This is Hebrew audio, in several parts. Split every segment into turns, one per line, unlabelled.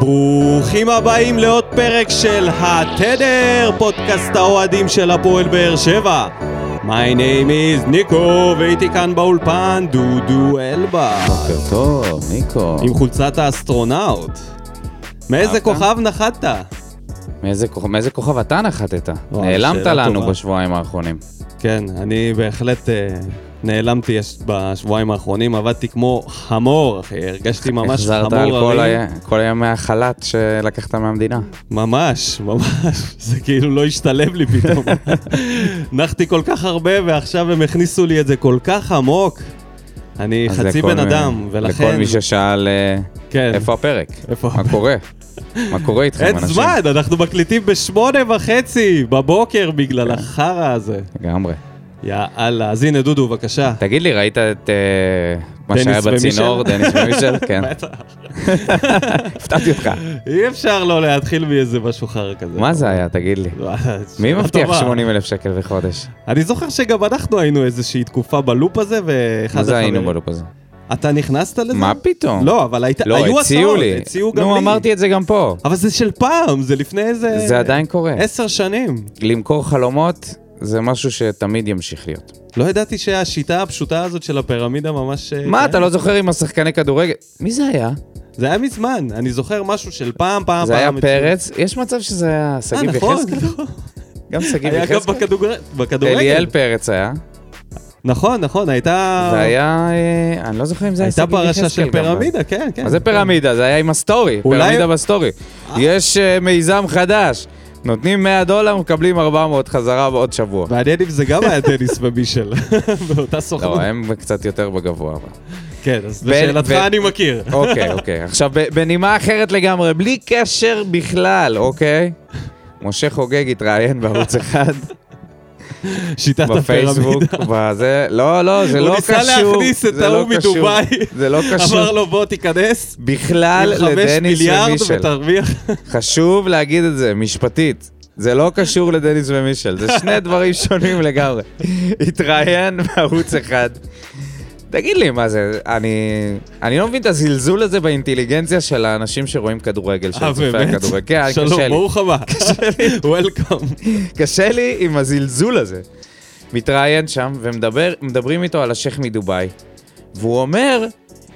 ברוכים הבאים לעוד פרק של התדר, פודקאסט האוהדים של הפועל באר שבע. My name is ניקו, והייתי כאן באולפן דודו אלבה.
בוקר טוב, ניקו.
עם חולצת האסטרונאוט. מאיזה
אהבת?
כוכב נחתת?
מאיזה כוכב- מאיזה כוכב אתה נחתת?
וואי,
נעלמת
שאלה
לנו
טובה.
בשבועיים האחרונים.
כן, אני בהחלט אה, נעלמתי יש- בשבועיים האחרונים, עבדתי כמו חמור, אחי, הרגשתי ממש חמור.
החזרת על כל
הרי.
ה- כל ימי החל"ת שלקחת מהמדינה.
ממש, ממש, זה כאילו לא השתלב לי פתאום. נחתי כל כך הרבה, ועכשיו הם הכניסו לי את זה כל כך עמוק. אני
אז
חצי
לכל
בן
מי-
אדם, ולכן...
לכל מי ששאל אה,
כן.
איפה הפרק?
איפה
מה
הפרק?
קורה? מה קורה איתכם,
אין
אנשים?
זמן, אנחנו מקליטים בשמונה וחצי בבוקר
כן.
בגלל החרא הזה.
לגמרי.
יאללה, אז הנה דודו, בבקשה.
תגיד לי, ראית את אה, מה
דניס
שהיה בצינור?
ומישל?
דניס ומישל? כן.
בטח.
הפתעתי אותך.
אי אפשר לא להתחיל מאיזה משהו חרא כזה.
מה זה היה? תגיד לי.
וואלה,
מי
שאלה
מבטיח
טובה.
80 אלף שקל בחודש?
אני זוכר שגם אנחנו היינו איזושהי תקופה בלופ הזה, ואחד
מה זה
החברים...
היינו בלופ הזה?
אתה נכנסת לזה?
מה פתאום?
לא, אבל היית, היו
לא, הציעו
הצעות,
לי.
הציעו גם
נו,
לי.
אמרתי את זה גם פה.
אבל זה של פעם, זה לפני איזה...
זה עדיין קורה.
עשר שנים.
למכור חלומות זה משהו שתמיד ימשיך להיות.
לא ידעתי שהשיטה הפשוטה הזאת של הפירמידה ממש... אה,
מה, אתה לא זוכר עם השחקני כדורגל? מי זה היה?
זה היה מזמן, אני זוכר משהו של פעם, פעם,
זה היה
פעם.
פרץ, יש מצב שזה היה
אה,
שגיב
נכון,
יחזקאל?
נכון.
גם שגיב
היה גם
יחזקאל?
בכדוגר- בכדורגל.
כאילו? אליאל פרץ היה,
נכון, נכון, הייתה...
והיה, אה, אני לא זוכר אם זה היה
הייתה
שגיב יחזקאל.
פרשה של
כאילו גם.
פירמידה, כן, כן.
מה זה פירמידה? זה היה עם הסטורי,
אולי-
פירמידה בסטורי. יש אה, מיזם חדש, נותנים 100 דולר, מקבלים 400 חזרה בעוד שבוע.
מעניין אם זה גם היה דניס ומישל, באותה סוכנות.
לא, הם קצת יותר בגבוה. אבל.
כן, אז
ו-
לשאלתך
ו-
אני מכיר.
אוקיי, אוקיי. עכשיו, ב- בנימה אחרת לגמרי, בלי קשר בכלל, אוקיי? משה חוגג התראיין בערוץ אחד,
שיטת
בפייסבוק,
הפירמידה.
בזה, לא, לא, זה
הוא
לא
ניסה
קשור.
להכניס את
זה לא
ההוא
קשור.
מדובאי.
זה לא
אמר
קשור
לו בוא תיכנס,
בכלל
עם חמש
לדניס
מיליארד
ומישל.
ותרוויח.
חשוב להגיד את זה, משפטית. זה לא קשור לדניס ומישל, זה שני דברים שונים לגמרי. התראיין בערוץ אחד. תגיד לי, מה זה, אני, אני לא מבין את הזלזול הזה באינטליגנציה של האנשים שרואים כדורגל, של
אה,
צופי
באמת?
הכדורגל. כן,
שלום,
קשה לי.
ברוך הבא. וולקום.
קשה לי עם הזלזול הזה. מתראיין שם, ומדברים איתו על השייח מדובאי, והוא אומר,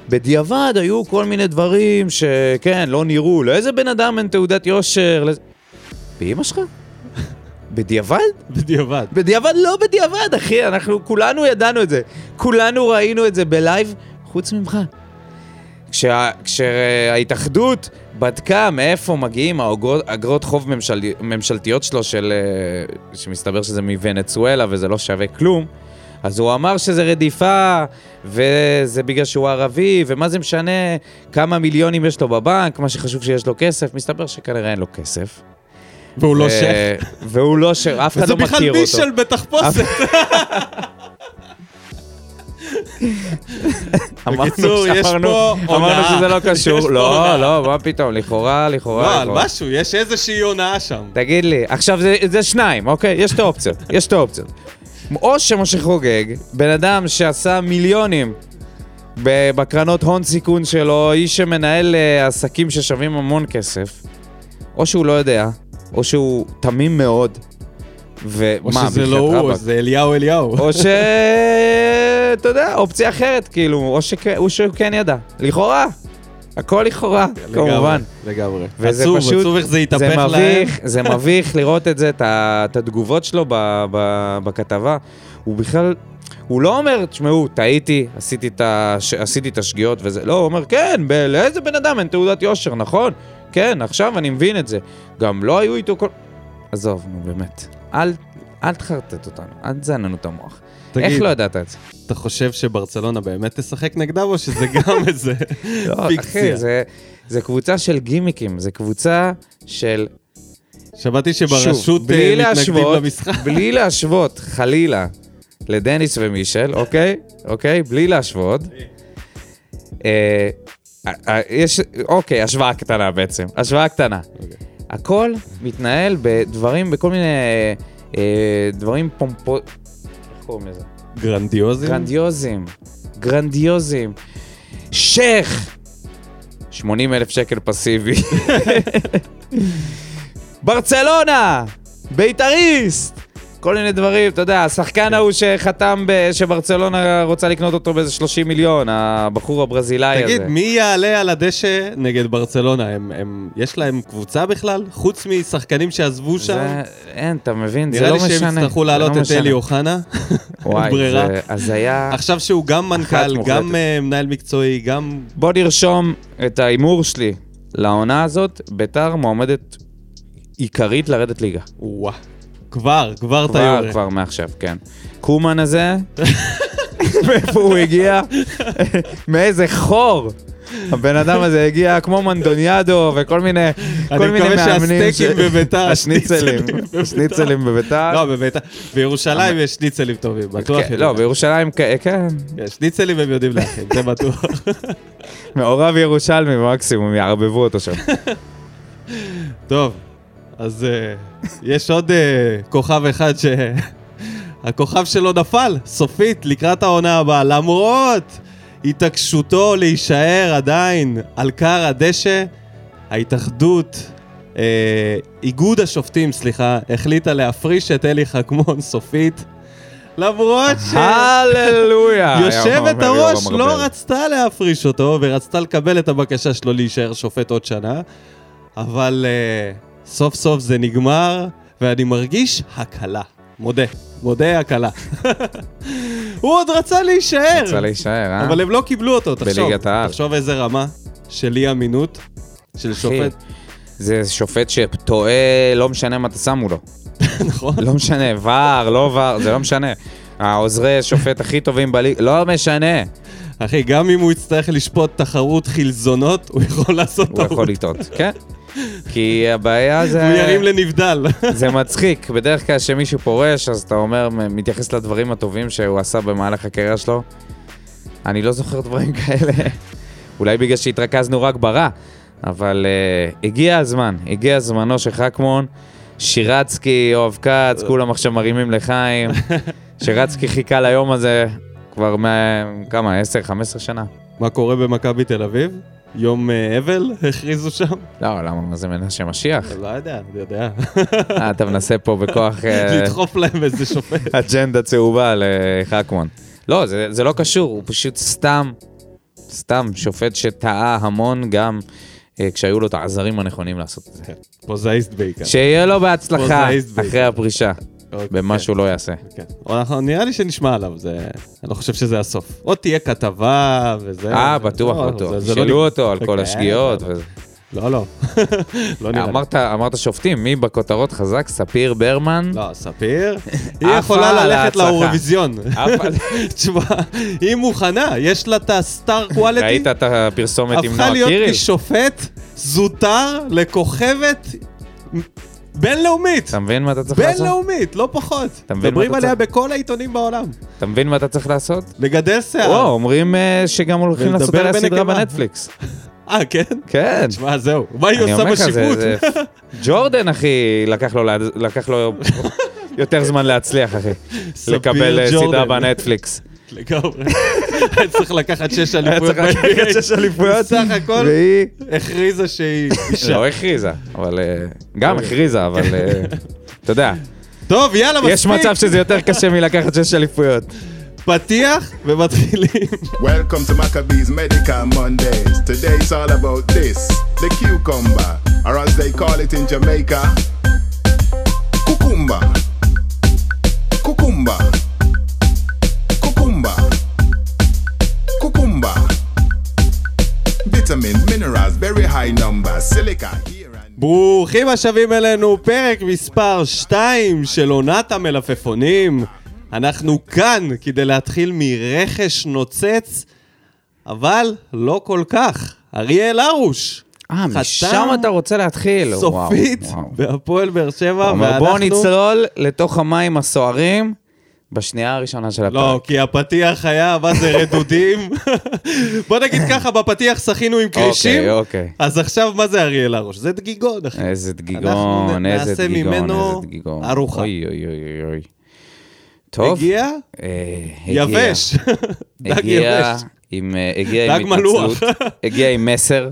בדיעבד היו כל מיני דברים שכן, לא נראו, לאיזה בן אדם אין תעודת יושר? לא... באמא שלך? בדיעבד?
בדיעבד.
בדיעבד לא בדיעבד, אחי, אנחנו כולנו ידענו את זה. כולנו ראינו את זה בלייב, חוץ ממך. כשה, כשההתאחדות בדקה מאיפה מגיעים האגרות אגרות חוב ממשל, ממשלתיות שלו, של, אה, שמסתבר שזה מוונצואלה וזה לא שווה כלום, אז הוא אמר שזה רדיפה, וזה בגלל שהוא ערבי, ומה זה משנה כמה מיליונים יש לו בבנק, מה שחשוב שיש לו כסף, מסתבר שכנראה אין לו כסף.
והוא לא
אה,
שייח.
והוא לא שייח, אף אחד
זה
לא מכיר אותו.
בכלל מישל בתחפושת. בקיצור, יש
אמרנו-
פה
אמרנו
הונאה.
שזה לא
יש פה
קשור.
הונאה.
לא, לא, מה פתאום, לכאורה,
לא,
לכאורה,
על
לכאורה.
משהו, יש איזושהי הונאה שם.
תגיד לי, עכשיו זה- זה שניים, אוקיי? יש את האופציות, יש את האופציות. או שמשה חוגג, בן אדם שעשה מיליונים ב- בקרנות הון סיכון שלו, איש שמנהל אה, עסקים ששווים המון כסף, או שהוא לא יודע, או שהוא תמים מאוד,
או
ומה,
שזה
בחייאת
לא הוא,
רבאק.
זה אליהו אליהו.
או ש... אתה יודע, אופציה אחרת, כאילו, או שכן- או שהוא כן ידע. לכאורה. הכל לכאורה,
כן, לגמרי,
כמובן.
לגמרי.
וזה
עצוב,
פשוט-
עצוב איך זה התהפך
זה
להם.
מביך, זה מביך לראות את זה, את ה- את התגובות שלו ב- ב- בכתבה. הוא בכלל, הוא לא אומר, תשמעו, טעיתי, עשיתי את הש- עשיתי את השגיאות וזה. לא, הוא אומר, כן, ב- לאיזה בן אדם אין תעודת יושר, נכון? כן, עכשיו אני מבין את זה. גם לא היו איתו כל... עזוב, נו, באמת. אל אל תחרטט אותנו, אל תזן לנו את המוח. איך
תגיד,
לא ידעת את זה?
אתה חושב שברצלונה באמת תשחק נגדם, או שזה גם איזה לא, פיקציה?
אחי, זה, זה קבוצה של גימיקים, זה קבוצה של...
שמעתי
שוב,
שברשות
בלי
אה, מתנגדים
להשוות,
למשחק.
בלי להשוות, חלילה, לדניס ומישל, אוקיי? אוקיי? בלי להשוות. אה, אה, אה, יש, אוקיי, השוואה קטנה בעצם, השוואה קטנה.
אוקיי.
הכל מתנהל בדברים, בכל מיני אה, דברים פומפו... איך קוראים לזה?
גרנדיוזי?
גרנדיוזים. גרנדיוזים. שייח. 80 אלף שקל פסיבי. ברצלונה! בית"ריסט! כל מיני דברים, אתה יודע,
כן.
השחקן ההוא שחתם, ב- שברצלונה רוצה לקנות אותו באיזה 30 מיליון, הבחור הברזילאי הזה.
תגיד, מי יעלה על הדשא נגד ברצלונה? הם, הם, יש להם קבוצה בכלל? חוץ משחקנים שעזבו שם?
זה, אין, אתה מבין, זה
נראה
לא
לי
משנה.
שהם יצטרכו
זה לא
להעלות את
משנה.
אלי אוחנה.
וואי,
ברירה.
זה הזיה.
עכשיו שהוא גם מנכ"ל,
מוחלטת.
גם אה, מנהל מקצועי, גם...
בוא נרשום את ההימור שלי לעונה הזאת, ביתר מועמדת עיקרית לרדת ליגה.
וואה. כבר, כבר אתה
כבר,
יורה.
כבר מעכשיו, כן. קומן הזה, מאיפה הוא הגיע? מאיזה חור. הבן אדם הזה הגיע כמו מנדוניאדו וכל מיני, כל
אני
מיני
מקווה
מאמנים.
שהסטייקים בביתר,
השניצלים,
השניצלים בביתר.
השניצלים בביתר.
לא, באמת, בירושלים יש שניצלים טובים, בטוח.
כן,
יודעים.
לא, בירושלים, כ- כן,
כן, שניצלים הם יודעים להכין, זה בטוח.
מעורב ירושלמי מקסימום, יערבבו אותו שם.
טוב, אז אה, יש עוד אה, כוכב אחד ש... הכוכב שלו נפל, סופית, לקראת העונה הבאה, למרות התעקשותו להישאר עדיין על כר הדשא, ההתאחדות, אה, איגוד השופטים, סליחה, החליטה להפריש את אלי חכמון סופית, למרות ש...
הללויה. אה, היה אומר
יושבת הראש
יורם
לא
ארבל.
רצתה להפריש אותו, ורצתה לקבל את הבקשה שלו להישאר שופט עוד שנה, אבל uh, סוף סוף זה נגמר, ואני מרגיש הקלה. מודה, מודה הקלה. הוא עוד רצה להישאר,
רצה להישאר, אה?
אבל הם לא קיבלו אותו, תחשוב.
בליגת העל.
תחשוב איזה רמה של אי אמינות של שופט,
זה שופט שטועה, לא משנה מה אתה שם מולו.
נכון?
לא משנה, ור, לא ור, זה לא משנה. העוזרי שופט הכי טובים בליגה, לא משנה.
אחי, גם אם הוא יצטרך לשפוט תחרות חלזונות, הוא יכול לעשות
הוא
טעות.
יכול לטעות, כן? כי הבעיה זה...
הוא ירים לנבדל.
זה מצחיק, בדרך כלל כשמישהו פורש, אז אתה אומר, מתייחס לדברים הטובים שהוא עשה במהלך הקריירה שלו. אני לא זוכר דברים כאלה. אולי בגלל שהתרכזנו רק ברע, אבל uh, הגיע הזמן, הגיע זמנו של חכמון, שירצקי, יואב כץ, כולם עכשיו מרימים לחיים. שירצקי חיכה ליום הזה כבר מה... כמה? 10-15 שנה?
מה קורה במכבי תל אביב? יום אה, אבל הכריזו שם?
לא, למה? מה זה מנשה משיח?
לא יודע, אני יודע.
אה, אתה מנסה פה בכוח... אה,
לדחוף להם איזה שופט.
אג'נדה צהובה לחכמון. לא, זה, זה לא קשור, הוא פשוט סתם, סתם שופט שטעה המון גם אה, כשהיו לו את העזרים הנכונים לעשות את זה.
פוזאיסט בעיקר.
שיהיה לו בהצלחה
פרוזאיסט בעיקר.
אחרי הפרישה,
אוקיי,
במה שהוא לא יעשה.
כן, כן. אנחנו- נראה לי שנשמע עליו, זה... אני לא חושב שזה הסוף. עוד תהיה כתבה וזה...
אה, בטוח,
לא,
בטוח.
זה- זה לא
שאלו
נגמר.
אותו על כל
כן,
השגיאות.
אבל-
וזה.
לא, לא. לא נראה לי.
אמרת- אמרת שופטים, מי בכותרות חזק? ספיר ברמן?
לא, ספיר. היא
עפה
יכולה
על
ללכת
ההצלחה.
לאירוויזיון.
אף על-
תשמע, היא מוכנה, יש לה את הסטאר קואליטי.
ראית את הפרסומת עם
הפכה
נועה
להיות
קיריל?
משופט זוטר לכוכבת בינלאומית.
אתה מבין מה אתה צריך לעשות?
בינלאומית, לא פחות.
אתה מבין
מדברים
מה אתה
עליה בכל העיתונים בעולם.
אתה מבין מה אתה צריך לעשות?
לגדל
וואו,
שיער.
אומרים אה, שגם הולכים לעשות
אה. ולדבר
עליה סדרה
בנקמה.
בנטפליקס.
אה, כן?
כן.
תשמע, זהו. מה היא
אני
עושה
אומר לך, זה...
בשיפוט?
זה- ג'ורדן, אחי, לקח לו, לה- לקח לו יותר זמן להצליח, אחי.
ספיר
לקבל אה, סדרה
ג'ורדן.
בנטפליקס.
לגמרי. היה צריך לקחת שש
היה
אליפויות.
צריך לקחת
ב-NBA.
שש אליפויות,
סך הכל
והיא...
הכריזה שהיא אישה.
לא הכריזה, אבל... אה, גם הכריזה, אבל... אה, אתה יודע,
טוב, יאללה,
יש מצב
מספיק.
שזה יותר קשה מלקחת שש אליפויות.
פתיח ומתחילים.
Welcome to Maccabees Medical Mondays. Today's all about this the cucumber, or as they call it in Jamaica, cucumba. Cucumba. Cucumba. Cucumba. Vitamins, minerals, very high numbers, silica here and
ברוכים השבים אלינו, פרק מספר 2 של עונת המלפפונים. אנחנו כאן כדי להתחיל מרכש נוצץ, אבל לא כל כך. אריאל הרוש. חתם
רוצה להתחיל.
סופית בהפועל באר שבע,
בואו נצלול לתוך המים הסוערים בשנייה הראשונה של הפרק.
לא, כי הפתיח היה, מה זה, רדודים? בוא נגיד ככה, בפתיח שחינו עם כרישים,
אוקיי, אוקיי. אה,
אז עכשיו מה זה אריאל הרוש? זה דגיגון, אחי.
איזה
אנחנו נ-
דגיגון, איזה
נעשה
דגיגון,
ממנו
איזה דגיגון.
ארוחה.
אוי אוי אוי אוי אוי. טוב.
הגיע?
אה, הגיע.
יבש. דג
הגיע
יבש.
עם, אה, הגיע עם
דג מלוח.
התנצלות. הגיע עם מסר.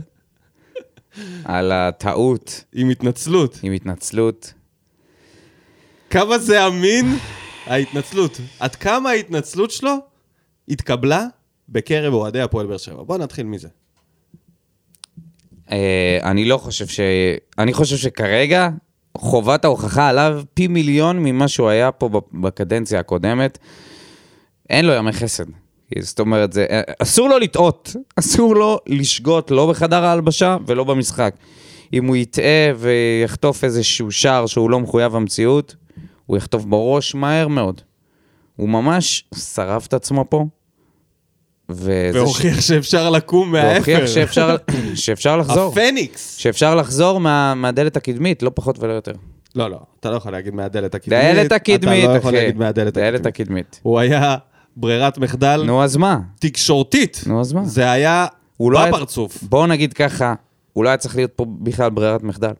על הטעות
עם התנצלות.
עם התנצלות.
כמה זה אמין, ההתנצלות. עד כמה ההתנצלות שלו התקבלה בקרב אוהדי הפועל באר שבע. בואו נתחיל מזה.
אה, אני לא חושב ש... אני חושב שכרגע חובת ההוכחה עליו פי מיליון ממה שהוא היה פה ב- בקדנציה הקודמת. אין לו ימי חסד. זאת אומרת, זה... אה, אסור לו לטעות. אסור לו לשגות, לא בחדר ההלבשה ולא במשחק. אם הוא יטעה ויחטוף איזשהו שער שהוא לא מחויב המציאות, הוא יחטוף בראש מהר מאוד. הוא ממש שרף את עצמו פה. וזה
והוכיח שאפשר לקום מהאפר.
והוכיח שאפשר, שאפשר לחזור.
הפניקס.
שאפשר לחזור מה, מהדלת הקדמית, לא פחות ולא יותר.
לא, לא, אתה לא יכול להגיד מהדלת הקדמית.
דלת הקדמית,
אתה לא יכול
אחי.
להגיד מהדלת
דלת
הקדמית.
הקדמית.
הוא היה ברירת מחדל
נו, אז מה?
תקשורתית.
נו, אז מה?
זה היה
הוא לא היה-
בפרצוף.
בואו נגיד ככה, הוא לא היה צריך להיות פה בכלל ברירת מחדל.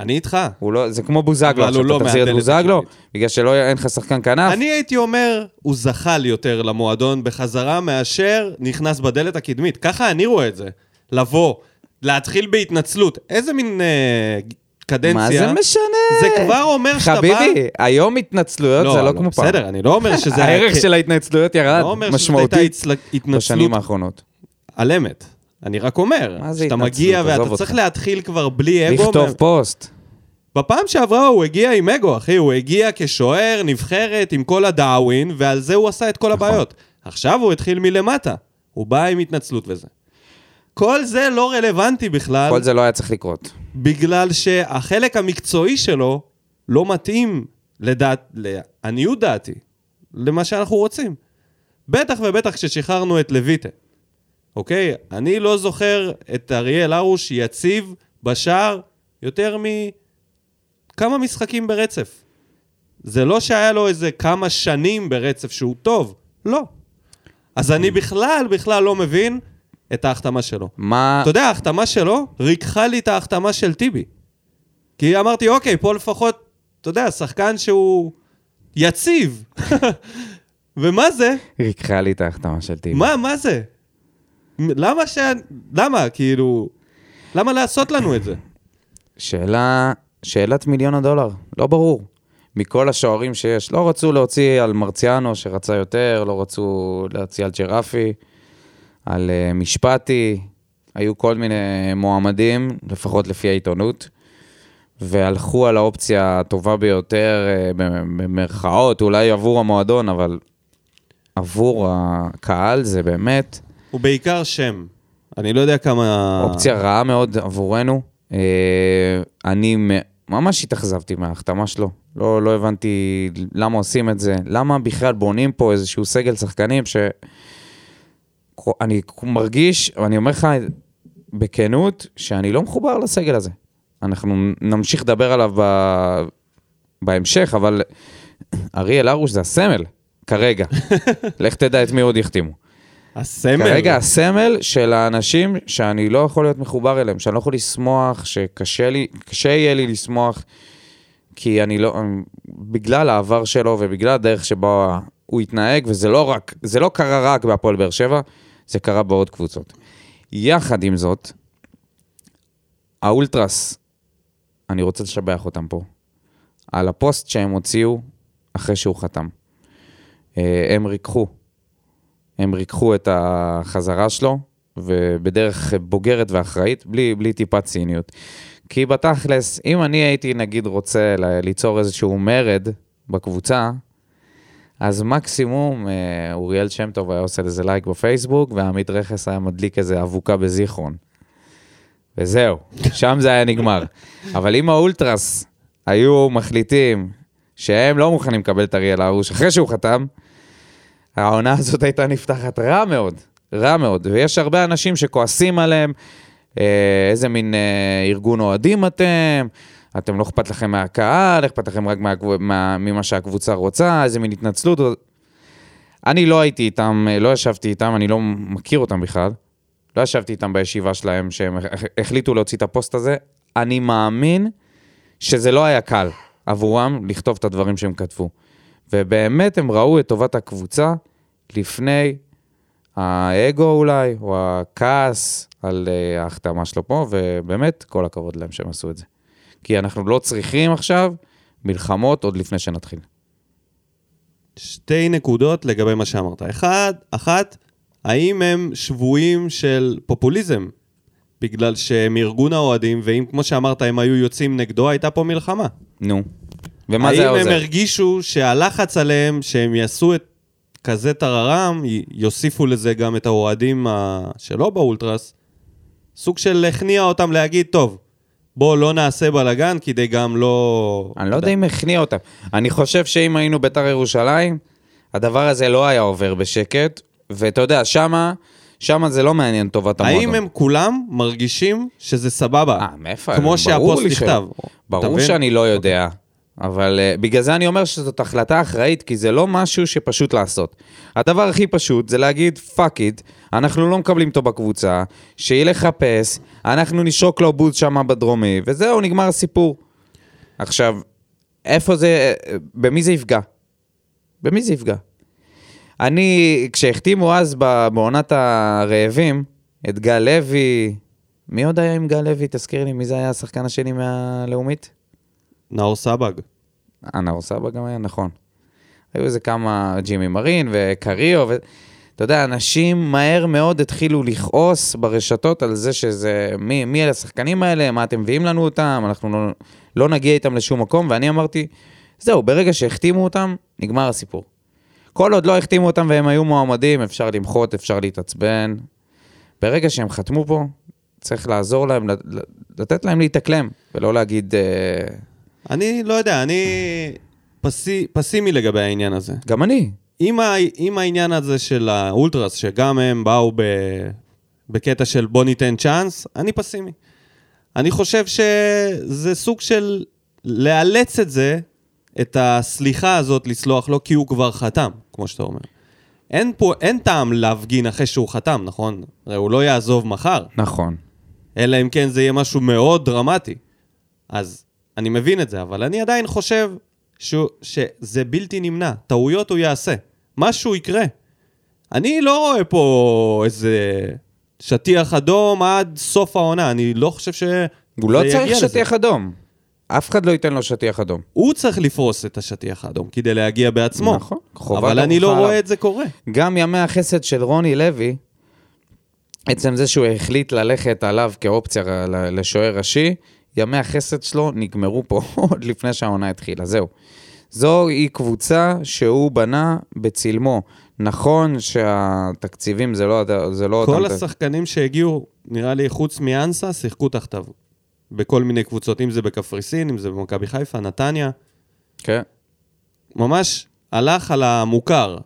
אני איתך.
הוא לא, זה כמו בוזגלו,
אבל הוא
עכשיו
לא
אתה תחזיר את
מהדלת
בוזגלו,
הקדמית.
בגלל שלא אין לך שחקן כנף.
אני הייתי אומר, הוא זחל יותר למועדון בחזרה מאשר נכנס בדלת הקדמית. ככה אני רואה את זה. לבוא, להתחיל בהתנצלות. איזה מין אה, קדנציה.
מה זה משנה?
זה כבר אומר שאתה בא...
חביבי, היום התנצלויות זה לא כמו פעם.
בסדר, אני לא אומר שזה... היה
הערך
כ-
של ההתנצלויות ירד
לא אומר שזו הייתה
משמעותית
הצל- התנצלות
בשנים האחרונות.
על אמת. אני רק אומר,
מה זה
שאתה
התנצלות?
מגיע
עזוב
ואתה
אותך.
צריך להתחיל כבר בלי אגו.
לכתוב
מה-
פוסט.
בפעם שעברה הוא הגיע עם אגו, אחי, הוא הגיע כשוער, נבחרת, עם כל הדאווין, ועל זה הוא עשה את כל הבעיות. עכשיו הוא התחיל מלמטה, הוא בא עם התנצלות וזה. כל זה לא רלוונטי בכלל,
כל זה לא היה צריך לקרות.
בגלל שהחלק המקצועי שלו לא מתאים לדעת, לעניות דעתי, למה שאנחנו רוצים. בטח ובטח כששחררנו את לויטה, אוקיי? אני לא זוכר את אריאל הרוש יציב בשער יותר מכמה משחקים ברצף. זה לא שהיה לו איזה כמה שנים ברצף שהוא טוב, לא. אז אני בכלל, בכלל לא מבין את ההחתמה שלו.
מה...
אתה יודע, ההחתמה שלו ריככה לי את ההחתמה של טיבי. כי אמרתי, אוקיי, פה לפחות, אתה יודע, שחקן שהוא יציב. ומה זה?
ריככה לי את ההחתמה של טיבי.
מה, מה זה? מ- למה ש... למה, כאילו... למה לעשות לנו את זה?
שאלה, שאלת מיליון הדולר, לא ברור. מכל השוערים שיש, לא רצו להוציא על מרציאנו שרצה יותר, לא רצו להוציא על ג'רפי, על uh, משפטי, היו כל מיני מועמדים, לפחות לפי העיתונות, והלכו על האופציה הטובה ביותר, uh, במרכאות, אולי עבור המועדון, אבל עבור הקהל זה באמת...
הוא בעיקר שם. אני לא יודע כמה...
אופציה רעה מאוד עבורנו. אה, אני מ- ממש התאכזבתי מההחתמה שלו. לא, לא הבנתי למה עושים את זה. למה בכלל בונים פה איזשהו סגל שחקנים ש... אני מרגיש, אני אומר לך בכנות, שאני לא מחובר לסגל הזה. אנחנו נמשיך לדבר עליו ב... בהמשך, אבל אריאל הרוש זה הסמל, כרגע. לך תדע את מי עוד יחתימו.
הסמל.
כרגע הסמל של האנשים שאני לא יכול להיות מחובר אליהם, שאני לא יכול לשמוח, שקשה לי, קשה יהיה לי לשמוח, כי אני לא, בגלל העבר שלו ובגלל הדרך שבה הוא התנהג, וזה לא רק, זה לא קרה רק בהפועל באר שבע, זה קרה בעוד קבוצות. יחד עם זאת, האולטרס, אני רוצה לשבח אותם פה, על הפוסט שהם הוציאו אחרי שהוא חתם. אה, הם ריככו. הם ריככו את החזרה שלו, ובדרך בוגרת ואחראית, בלי, בלי טיפה ציניות. כי בתכלס, אם אני הייתי נגיד רוצה ל- ליצור איזשהו מרד בקבוצה, אז מקסימום אה, אוריאל שם טוב היה עושה לזה לייק בפייסבוק, ועמית רכס היה מדליק איזה אבוקה בזיכרון. וזהו, שם זה היה נגמר. אבל אם האולטרס היו מחליטים שהם לא מוכנים לקבל את אריאל הרוש אחרי שהוא חתם, העונה הזאת הייתה נפתחת רע מאוד, רע מאוד. ויש הרבה אנשים שכועסים עליהם, אה, איזה מין אה, ארגון אוהדים אתם, אתם לא אכפת לכם מהקהל, אכפת לכם רק מה, מה, ממה שהקבוצה רוצה, איזה מין התנצלות. אני לא הייתי איתם, אה, לא ישבתי איתם, אני לא מכיר אותם בכלל. לא ישבתי איתם בישיבה שלהם, שהם הח- החליטו להוציא את הפוסט הזה. אני מאמין שזה לא היה קל עבורם לכתוב את הדברים שהם כתבו. ובאמת הם ראו את טובת הקבוצה לפני האגו אולי, או הכעס, על אה, ההחתמה שלו פה, ובאמת, כל הכבוד להם שהם עשו את זה. כי אנחנו לא צריכים עכשיו מלחמות עוד לפני שנתחיל.
שתי נקודות לגבי מה שאמרת. אחד, אחת, האם הם שבויים של פופוליזם? בגלל שהם ארגון האוהדים, ואם כמו שאמרת, הם היו יוצאים נגדו, הייתה פה מלחמה.
נו. ומה זה היה
האם הם
עוזר?
הרגישו שהלחץ עליהם, שהם יעשו את כזה טררם, י- יוסיפו לזה גם את האוהדים ה- שלא באולטרס, סוג של הכניע אותם להגיד, טוב, בואו לא נעשה בלאגן כדי גם לא...
אני לא יודע אם הכניע אותם. אני חושב שאם היינו ביתר ירושלים, הדבר הזה לא היה עובר בשקט, ואתה יודע, שמה, שמה זה לא מעניין טובת המועדון.
האם הם כולם מרגישים שזה סבבה?
אה, מאיפה?
כמו
ברור
שהפוסט
לי
נכתב.
ש-
אתה
ברור
מבין?
שאני לא יודע, אבל אה, בגלל זה אני אומר שזאת החלטה אחראית, כי זה לא משהו שפשוט לעשות. הדבר הכי פשוט זה להגיד, פאק איט, אנחנו לא מקבלים אותו בקבוצה, שילך לחפש, אנחנו נשרוק לו בוז שמה בדרומי, וזהו, נגמר הסיפור. עכשיו, איפה זה, אה, במי זה יפגע? במי זה יפגע? אני, כשהחתימו אז ב- בעונת הרעבים, את גל לוי, מי עוד היה עם גל לוי? תזכיר לי, מי זה היה השחקן השני מהלאומית?
נאור סבג.
אה, נאור סבא גם היה, נכון. היו איזה כמה ג'ימי מרין וקריו, ו... אתה יודע, אנשים מהר מאוד התחילו לכעוס ברשתות על זה שזה, מי, מי אלה השחקנים האלה, מה אתם מביאים לנו אותם, אנחנו לא, לא נגיע איתם לשום מקום, ואני אמרתי, זהו, ברגע שהחתימו אותם, נגמר הסיפור. כל עוד לא החתימו אותם והם היו מועמדים, אפשר למחות, אפשר להתעצבן. ברגע שהם חתמו פה, צריך לעזור להם, לת- לתת להם להתאקלם, ולא להגיד... אה,
אני לא יודע, אני פסי, פסימי לגבי העניין הזה.
גם אני,
עם, ה, עם העניין הזה של האולטרס, שגם הם באו ב, בקטע של בוא ניתן צ'אנס, אני פסימי. אני חושב שזה סוג של לאלץ את זה, את הסליחה הזאת לסלוח לו, כי הוא כבר חתם, כמו שאתה אומר. אין פה, אין טעם להפגין אחרי שהוא חתם, נכון? הרי הוא לא יעזוב מחר.
נכון.
אלא אם כן זה יהיה משהו מאוד דרמטי. אז אני מבין את זה, אבל אני עדיין חושב ש... שזה בלתי נמנע. טעויות הוא יעשה. משהו יקרה. אני לא רואה פה איזה שטיח אדום עד סוף העונה. אני לא חושב ש...
הוא לא
זה
צריך
יגיע לזה.
שטיח אדום. אף אחד לא ייתן לו שטיח אדום.
הוא צריך לפרוס את השטיח האדום כדי להגיע בעצמו.
נכון. חובת
אבל אני לא
ההוכחה עליו.
רואה את זה קורה.
גם ימי החסד של רוני לוי, עצם זה שהוא החליט ללכת עליו כאופציה ל- לשוער ראשי, ימי החסד שלו נגמרו פה עוד לפני שהעונה התחילה, זהו. זו היא קבוצה שהוא בנה בצלמו. נכון שהתקציבים זה לא, זה לא
כל
אותם-
השחקנים שהגיעו, נראה לי, חוץ מאנסה, שיחקו תחתיו. בכל מיני קבוצות, אם זה בקפריסין, אם זה במכבי חיפה, נתניה.
כן.
ממש הלך על המוכר.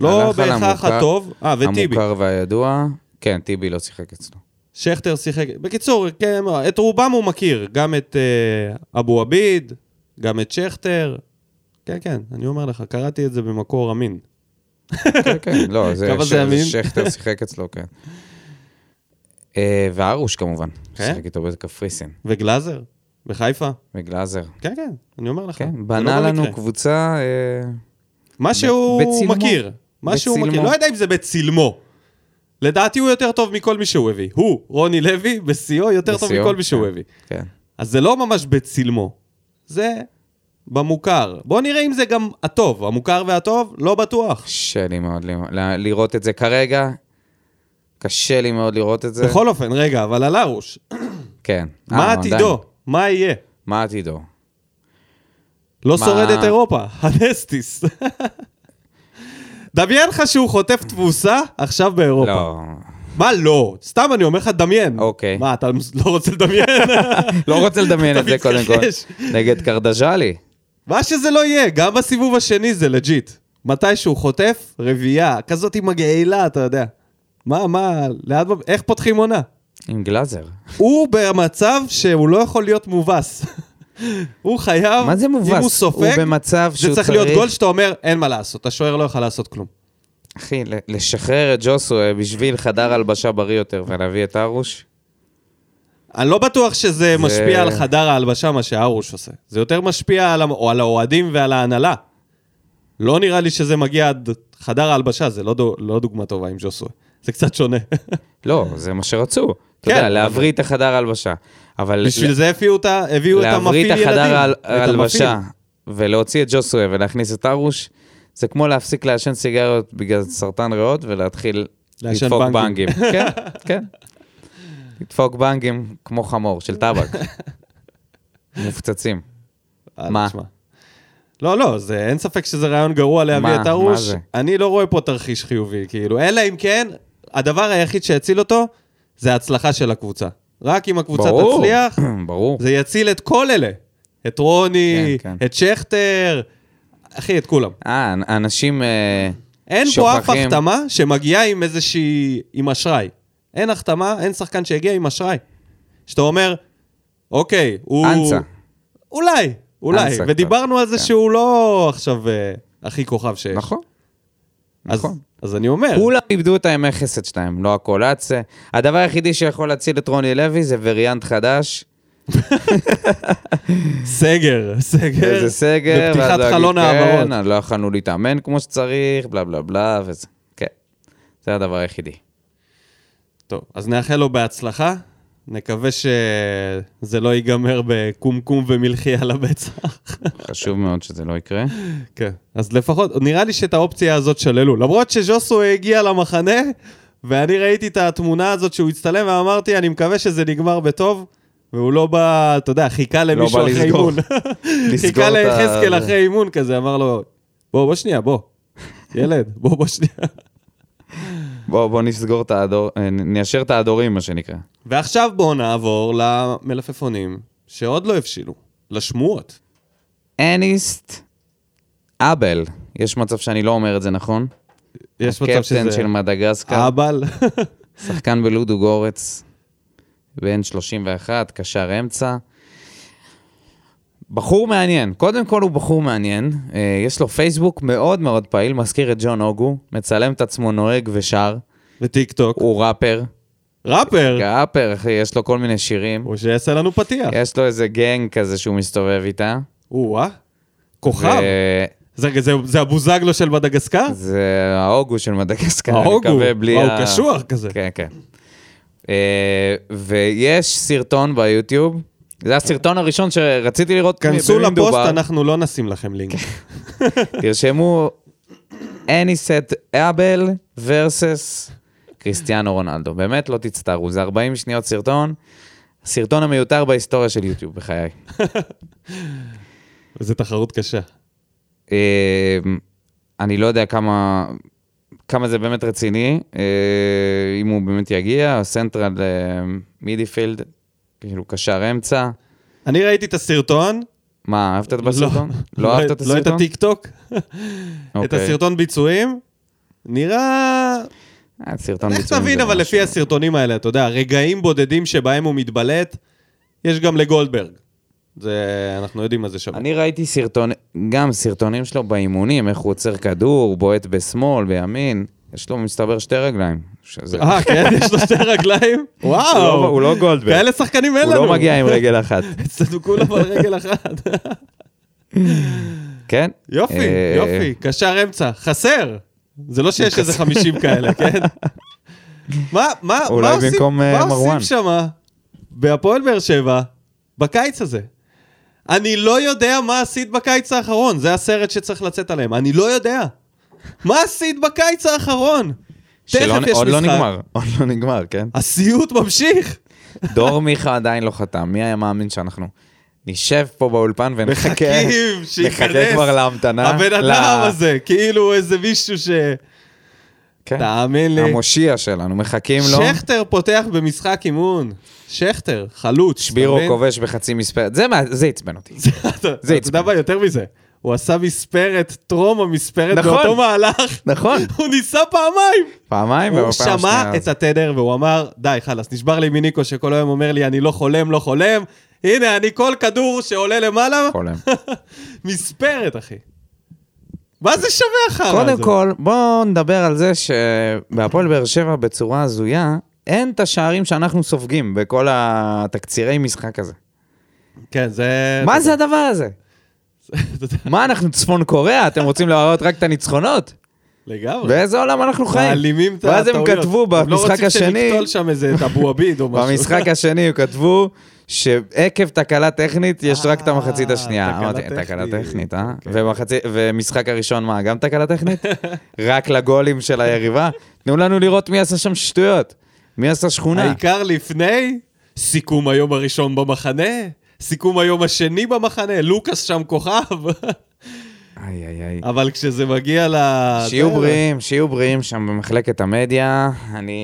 לא
הלך על
בהכרח
המוכר-
הטוב. אה, וטיבי.
המוכר והידוע. כן, טיבי לא שיחק אצלו.
שכטר שיחק. בקיצור, כן, את רובם הוא מכיר. גם את אה, אבו עביד, גם את שכטר. כן, כן, אני אומר לך, קראתי את זה במקור אמין.
כן, כן, לא, זה
כמה
ש-
זה אמין?
שכטר שיחק אצלו, כן. אה, והרוש כמובן,
כן?
שיחק איתו בקפריסין,
וגלאזר? בחיפה?
וגלאזר.
כן, כן, אני אומר לך. זה
כן,
לא
בנה לנו
במקרה.
קבוצה... אה,
מה שהוא
בצילמו.
מכיר. מה שהוא
בצילמו.
מכיר. לא יודע אם זה בצילמו. לדעתי הוא יותר טוב מכל מי שהוא הביא. הוא, רוני לוי, בשיאו, יותר טוב
בשיאו,
מכל מי שהוא
כן.
הביא.
כן.
אז זה לא ממש בצלמו, זה במוכר. בואו נראה אם זה גם הטוב, המוכר והטוב, לא בטוח.
קשה לי מאוד ל- ל- לראות את זה כרגע. קשה לי מאוד לראות את זה.
בכל אופן, רגע, אבל על הרוש,
כן.
נכון? מה
אה, עדיין.
עתידו? מה יהיה?
מה עתידו?
לא
מה-
שורד את אירופה, הנסטיס. דמיין לך שהוא חוטף תבוסה עכשיו באירופה.
לא,
מה לא? סתם אני אומר לך, דמיין.
אוקיי.
מה, אתה לא רוצה לדמיין?
לא רוצה לדמיין את זה קודם כל.
מתכחש.
נגד קרדז'לי.
מה שזה לא יהיה, גם בסיבוב השני זה לג'יט. מתי שהוא חוטף, רביעייה, כזאת עם הגאילה, אתה יודע. מה, מה, לאן, איך פותחים עונה?
עם גלאזר.
הוא במצב שהוא לא יכול להיות מובס. הוא חייב,
מה זה
אה, אם הוא
מובס? הוא
סופג,
במצב שהוא
זה צריך להיות גול שאתה אומר, אין מה לעשות, השוער לא יכול לעשות כלום.
אחי, ל- לשחרר את ג'וסווה בשביל חדר הלבשה בריא יותר ולהביא את ארוש?
אני לא בטוח שזה משפיע על חדר ההלבשה, מה שהרוש עושה. זה יותר משפיע על, המ- או על האוהדים ועל ההנהלה. לא נראה לי שזה מגיע עד חדר ההלבשה, זה לא, דו, לא דוגמה טובה עם ג'וסווה. זה קצת שונה.
לא, זה מה שרצו. אתה
כן,
יודע,
אבל-
להבריא את החדר הלבשה. אבל...
בשביל זה הביאו את ה- הביאו את המפעיל
להבריא
ילדים.
את החדר הל-
את המפעיל.
ההלבשה ולהוציא את ג'וסווה ולהכניס את ארוש, זה כמו להפסיק לעשן סיגריות בגלל סרטן ריאות ולהתחיל
לעשן
לדפוק
בנגים.
בנגים. כן, כן. לדפוק בנגים כמו חמור של טבק. מופצצים.
אה,
מה?
תשמע. לא, לא, זה, אין ספק שזה רעיון גרוע להביא
מה?
את הרוש.
מה זה?
אני לא רואה פה תרחיש חיובי, כאילו, אלא אם כן, הדבר היחיד שהציל אותו, זה ההצלחה של הקבוצה. רק אם הקבוצה
ברור.
תצליח,
ברור.
זה יציל את כל אלה. את רוני,
כן,
את שכטר, אחי, את כולם.
אה, אנ- אנשים אה,
אין פה אף
שוכחים.
החתמה שמגיעה עם איזושהי... עם אשראי. אין החתמה, אין שחקן שהגיע עם אשראי. שאתה אומר, אוקיי, הוא...
אנסה.
אולי, אולי.
אנסה
ודיברנו
קצת,
על זה
כן.
שהוא לא עכשיו אה, הכי כוכב שיש.
נכון.
אז-
נכון.
אז אני אומר,
כולם איבדו את הימי חסד שלהם, לא הקולאצה. הדבר היחידי שיכול להציל את רוני לוי זה וריאנט חדש.
סגר, סגר.
איזה סגר,
בפתיחת
ואז להגיד,
חלון
כן,
ההעברות.
אז לא יכלנו להתאמן כמו שצריך, בלה בלה בלה, וזה, כן. זה הדבר היחידי.
טוב, אז נאחל לו בהצלחה. נקווה שזה לא ייגמר בקומקום ומלחי על הבצח.
חשוב מאוד שזה לא יקרה.
כן. אז לפחות, נראה לי שאת האופציה הזאת שללו. למרות שז'וסו הגיע למחנה, ואני ראיתי את התמונה הזאת שהוא הצטלם, ואמרתי, אני מקווה שזה נגמר בטוב, והוא לא בא, אתה יודע, חיכה למישהו
לא בא
אחרי
לסגור.
אימון.
לסגור
חיכה
את ה-
ליחזקאל אחרי אימון כזה, אמר לו, בוא, בוא שנייה, בוא. ילד, בוא, בוא שנייה.
בואו בוא נסגור את ההדור, אה, ניישר את ההדורים, מה שנקרא.
ועכשיו בואו נעבור למלפפונים שעוד לא הבשילו, לשמועות.
אניסט אבל, יש מצב שאני לא אומר את זה נכון?
יש מצב
קפטן
שזה
של מדגסקר,
אבל,
שחקן בלודו גורץ, בן 31, קשר אמצע. בחור מעניין, קודם כל הוא בחור מעניין, אה, יש לו פייסבוק מאוד מאוד פעיל, מזכיר את ג'ון אוגו, מצלם את עצמו נוהג ושר,
וטיק טוק,
הוא כן. ראפר,
ראפר,
ראפר, אחי, יש לו כל מיני שירים,
או שיעשה לנו פתיח.
יש לו איזה גנג כזה שהוא מסתובב איתה.
או-אה, כוכב.
ו-
זה, זה, זה הבוזגלו של מדגסקר?
זה ההוגו של מדגסקר, אני
ההוגו.
מקווה בלי
וואו, קשוח כזה.
כן, כן. אה, ויש סרטון ביוטיוב, זה הסרטון הראשון שרציתי לראות מ-
כנסו
במי
לפוסט,
מדובר. כן.
אנחנו לא נשים לכם לינק.
תרשמו אניסט אבל versus קריסטיאנו רונלדו. באמת לא תצטערו, זה 40 שניות סרטון. הסרטון המיותר בהיסטוריה של יוטיוב, בחיי.
זו תחרות קשה.
אה, אני לא יודע כמה, כמה זה באמת רציני, אה, אם הוא באמת יגיע, סנטרל אה, מידיפילד, כאילו קשר אמצע.
אני ראיתי את הסרטון.
מה, אהבת את בסרטון? לא אהבת את
לא את
הסרטון?
הטיק טוק. את
אוקיי.
הסרטון ביצועים. נראה...
אה, סרטון
לך
ביצועים
תבין,
זה
אבל
משהו.
לפי הסרטונים האלה, אתה יודע, רגעים בודדים שבהם הוא מתבלט, יש גם לגולדברג. זה, אנחנו יודעים מה זה שווה.
אני ראיתי סרטון, גם סרטונים שלו באימונים, איך הוא עוצר כדור, בועט בשמאל, בימין. יש לו, מסתבר, שתי רגליים. שזה-
אה, כן? יש לו שתי רגליים?
הוא לא-
וואו.
הוא לא גולדברג.
כאלה שחקנים אין
הוא
לנו.
לא מגיע עם רגל אחת.
אצלנו כולם על רגל אחת.
כן?
יופי,
אה,
יופי, קשר אמצע, חסר. זה לא שיש איזה 50 כאלה, כן? מה, מה,
אולי
מה עושים,
במקום,
מה
אה,
עושים
מרואן.
שמה בהפועל באר שבע בקיץ הזה? אני לא יודע מה עשית בקיץ האחרון, זה הסרט שצריך לצאת עליהם, אני לא יודע. מה עשית בקיץ האחרון?
שלא-
תכף יש
עוד לא
משחק.
נגמר, עוד לא נגמר, כן?
הסיוט ממשיך.
דור מיכה עדיין לא חתם, מי היה מאמין שאנחנו נשב פה באולפן ונחכה,
מחכים שייכנס.
נחכה כבר להמתנה.
הבן
ל-
אדם הזה, כאילו איזה מישהו ש...
כן,
תאמין לי.
המושיע שלנו, מחכים לו,
שכטר פותח במשחק אימון. שכטר, חלוץ.
שבירו
אתה מבין?
כובש בחצי מספרת, זה מה- זה עצבן אותי.
אתה- אתה
זה
יודע מה יותר מזה? הוא עשה מספרת טרום המספרת
נכון.
באותו מהלך.
נכון.
הוא ניסה פעמיים.
פעמיים,
הוא
ובפעם השנייה
שמע את
זה-
התדר והוא אמר, די, חלאס, נשבר לי מניקו שכל היום אומר לי, אני לא חולם, לא חולם. הנה, אני כל כדור שעולה למעלה,
חולם.
מספרת, אחי. מה זה שווה אחר
קודם כל, בואו נדבר על זה שבהפועל באר שבע בצורה הזויה, אין את השערים שאנחנו סופגים בכל התקצירי משחק הזה.
כן, זה...
מה זה הדבר הזה?
אתה יודע,
מה, אנחנו צפון קוריאה? אתם רוצים להראות רק את הניצחונות?
לגמרי.
באיזה עולם אנחנו חיים?
מעלימים את
ואז
הטעויות.
הם כתבו במשחק
לא רציתי
השני,
לקטול שם איזה את אבו עביד או משהו.
במשחק השני הם כתבו שעקב תקלה טכנית יש רק את
אה,
המחצית השנייה.
תקלה
אמרתי,
טכנית.
תקלה טכנית, אה?
כן.
ומחצי- ומשחק הראשון, מה, גם תקלה טכנית? רק לגולים של היריבה? תנו לנו לראות מי עשה שם שטויות. מי עשה שכונה?
העיקר לפני, סיכום היום הראשון במחנה, סיכום היום השני במחנה, לוקאס שם כוכב.
איי, איי, איי.
אבל כשזה מגיע ל...
שיהיו
אה, זה-
בריאים, שיהיו בריאים שם במחלקת המדיה. אני...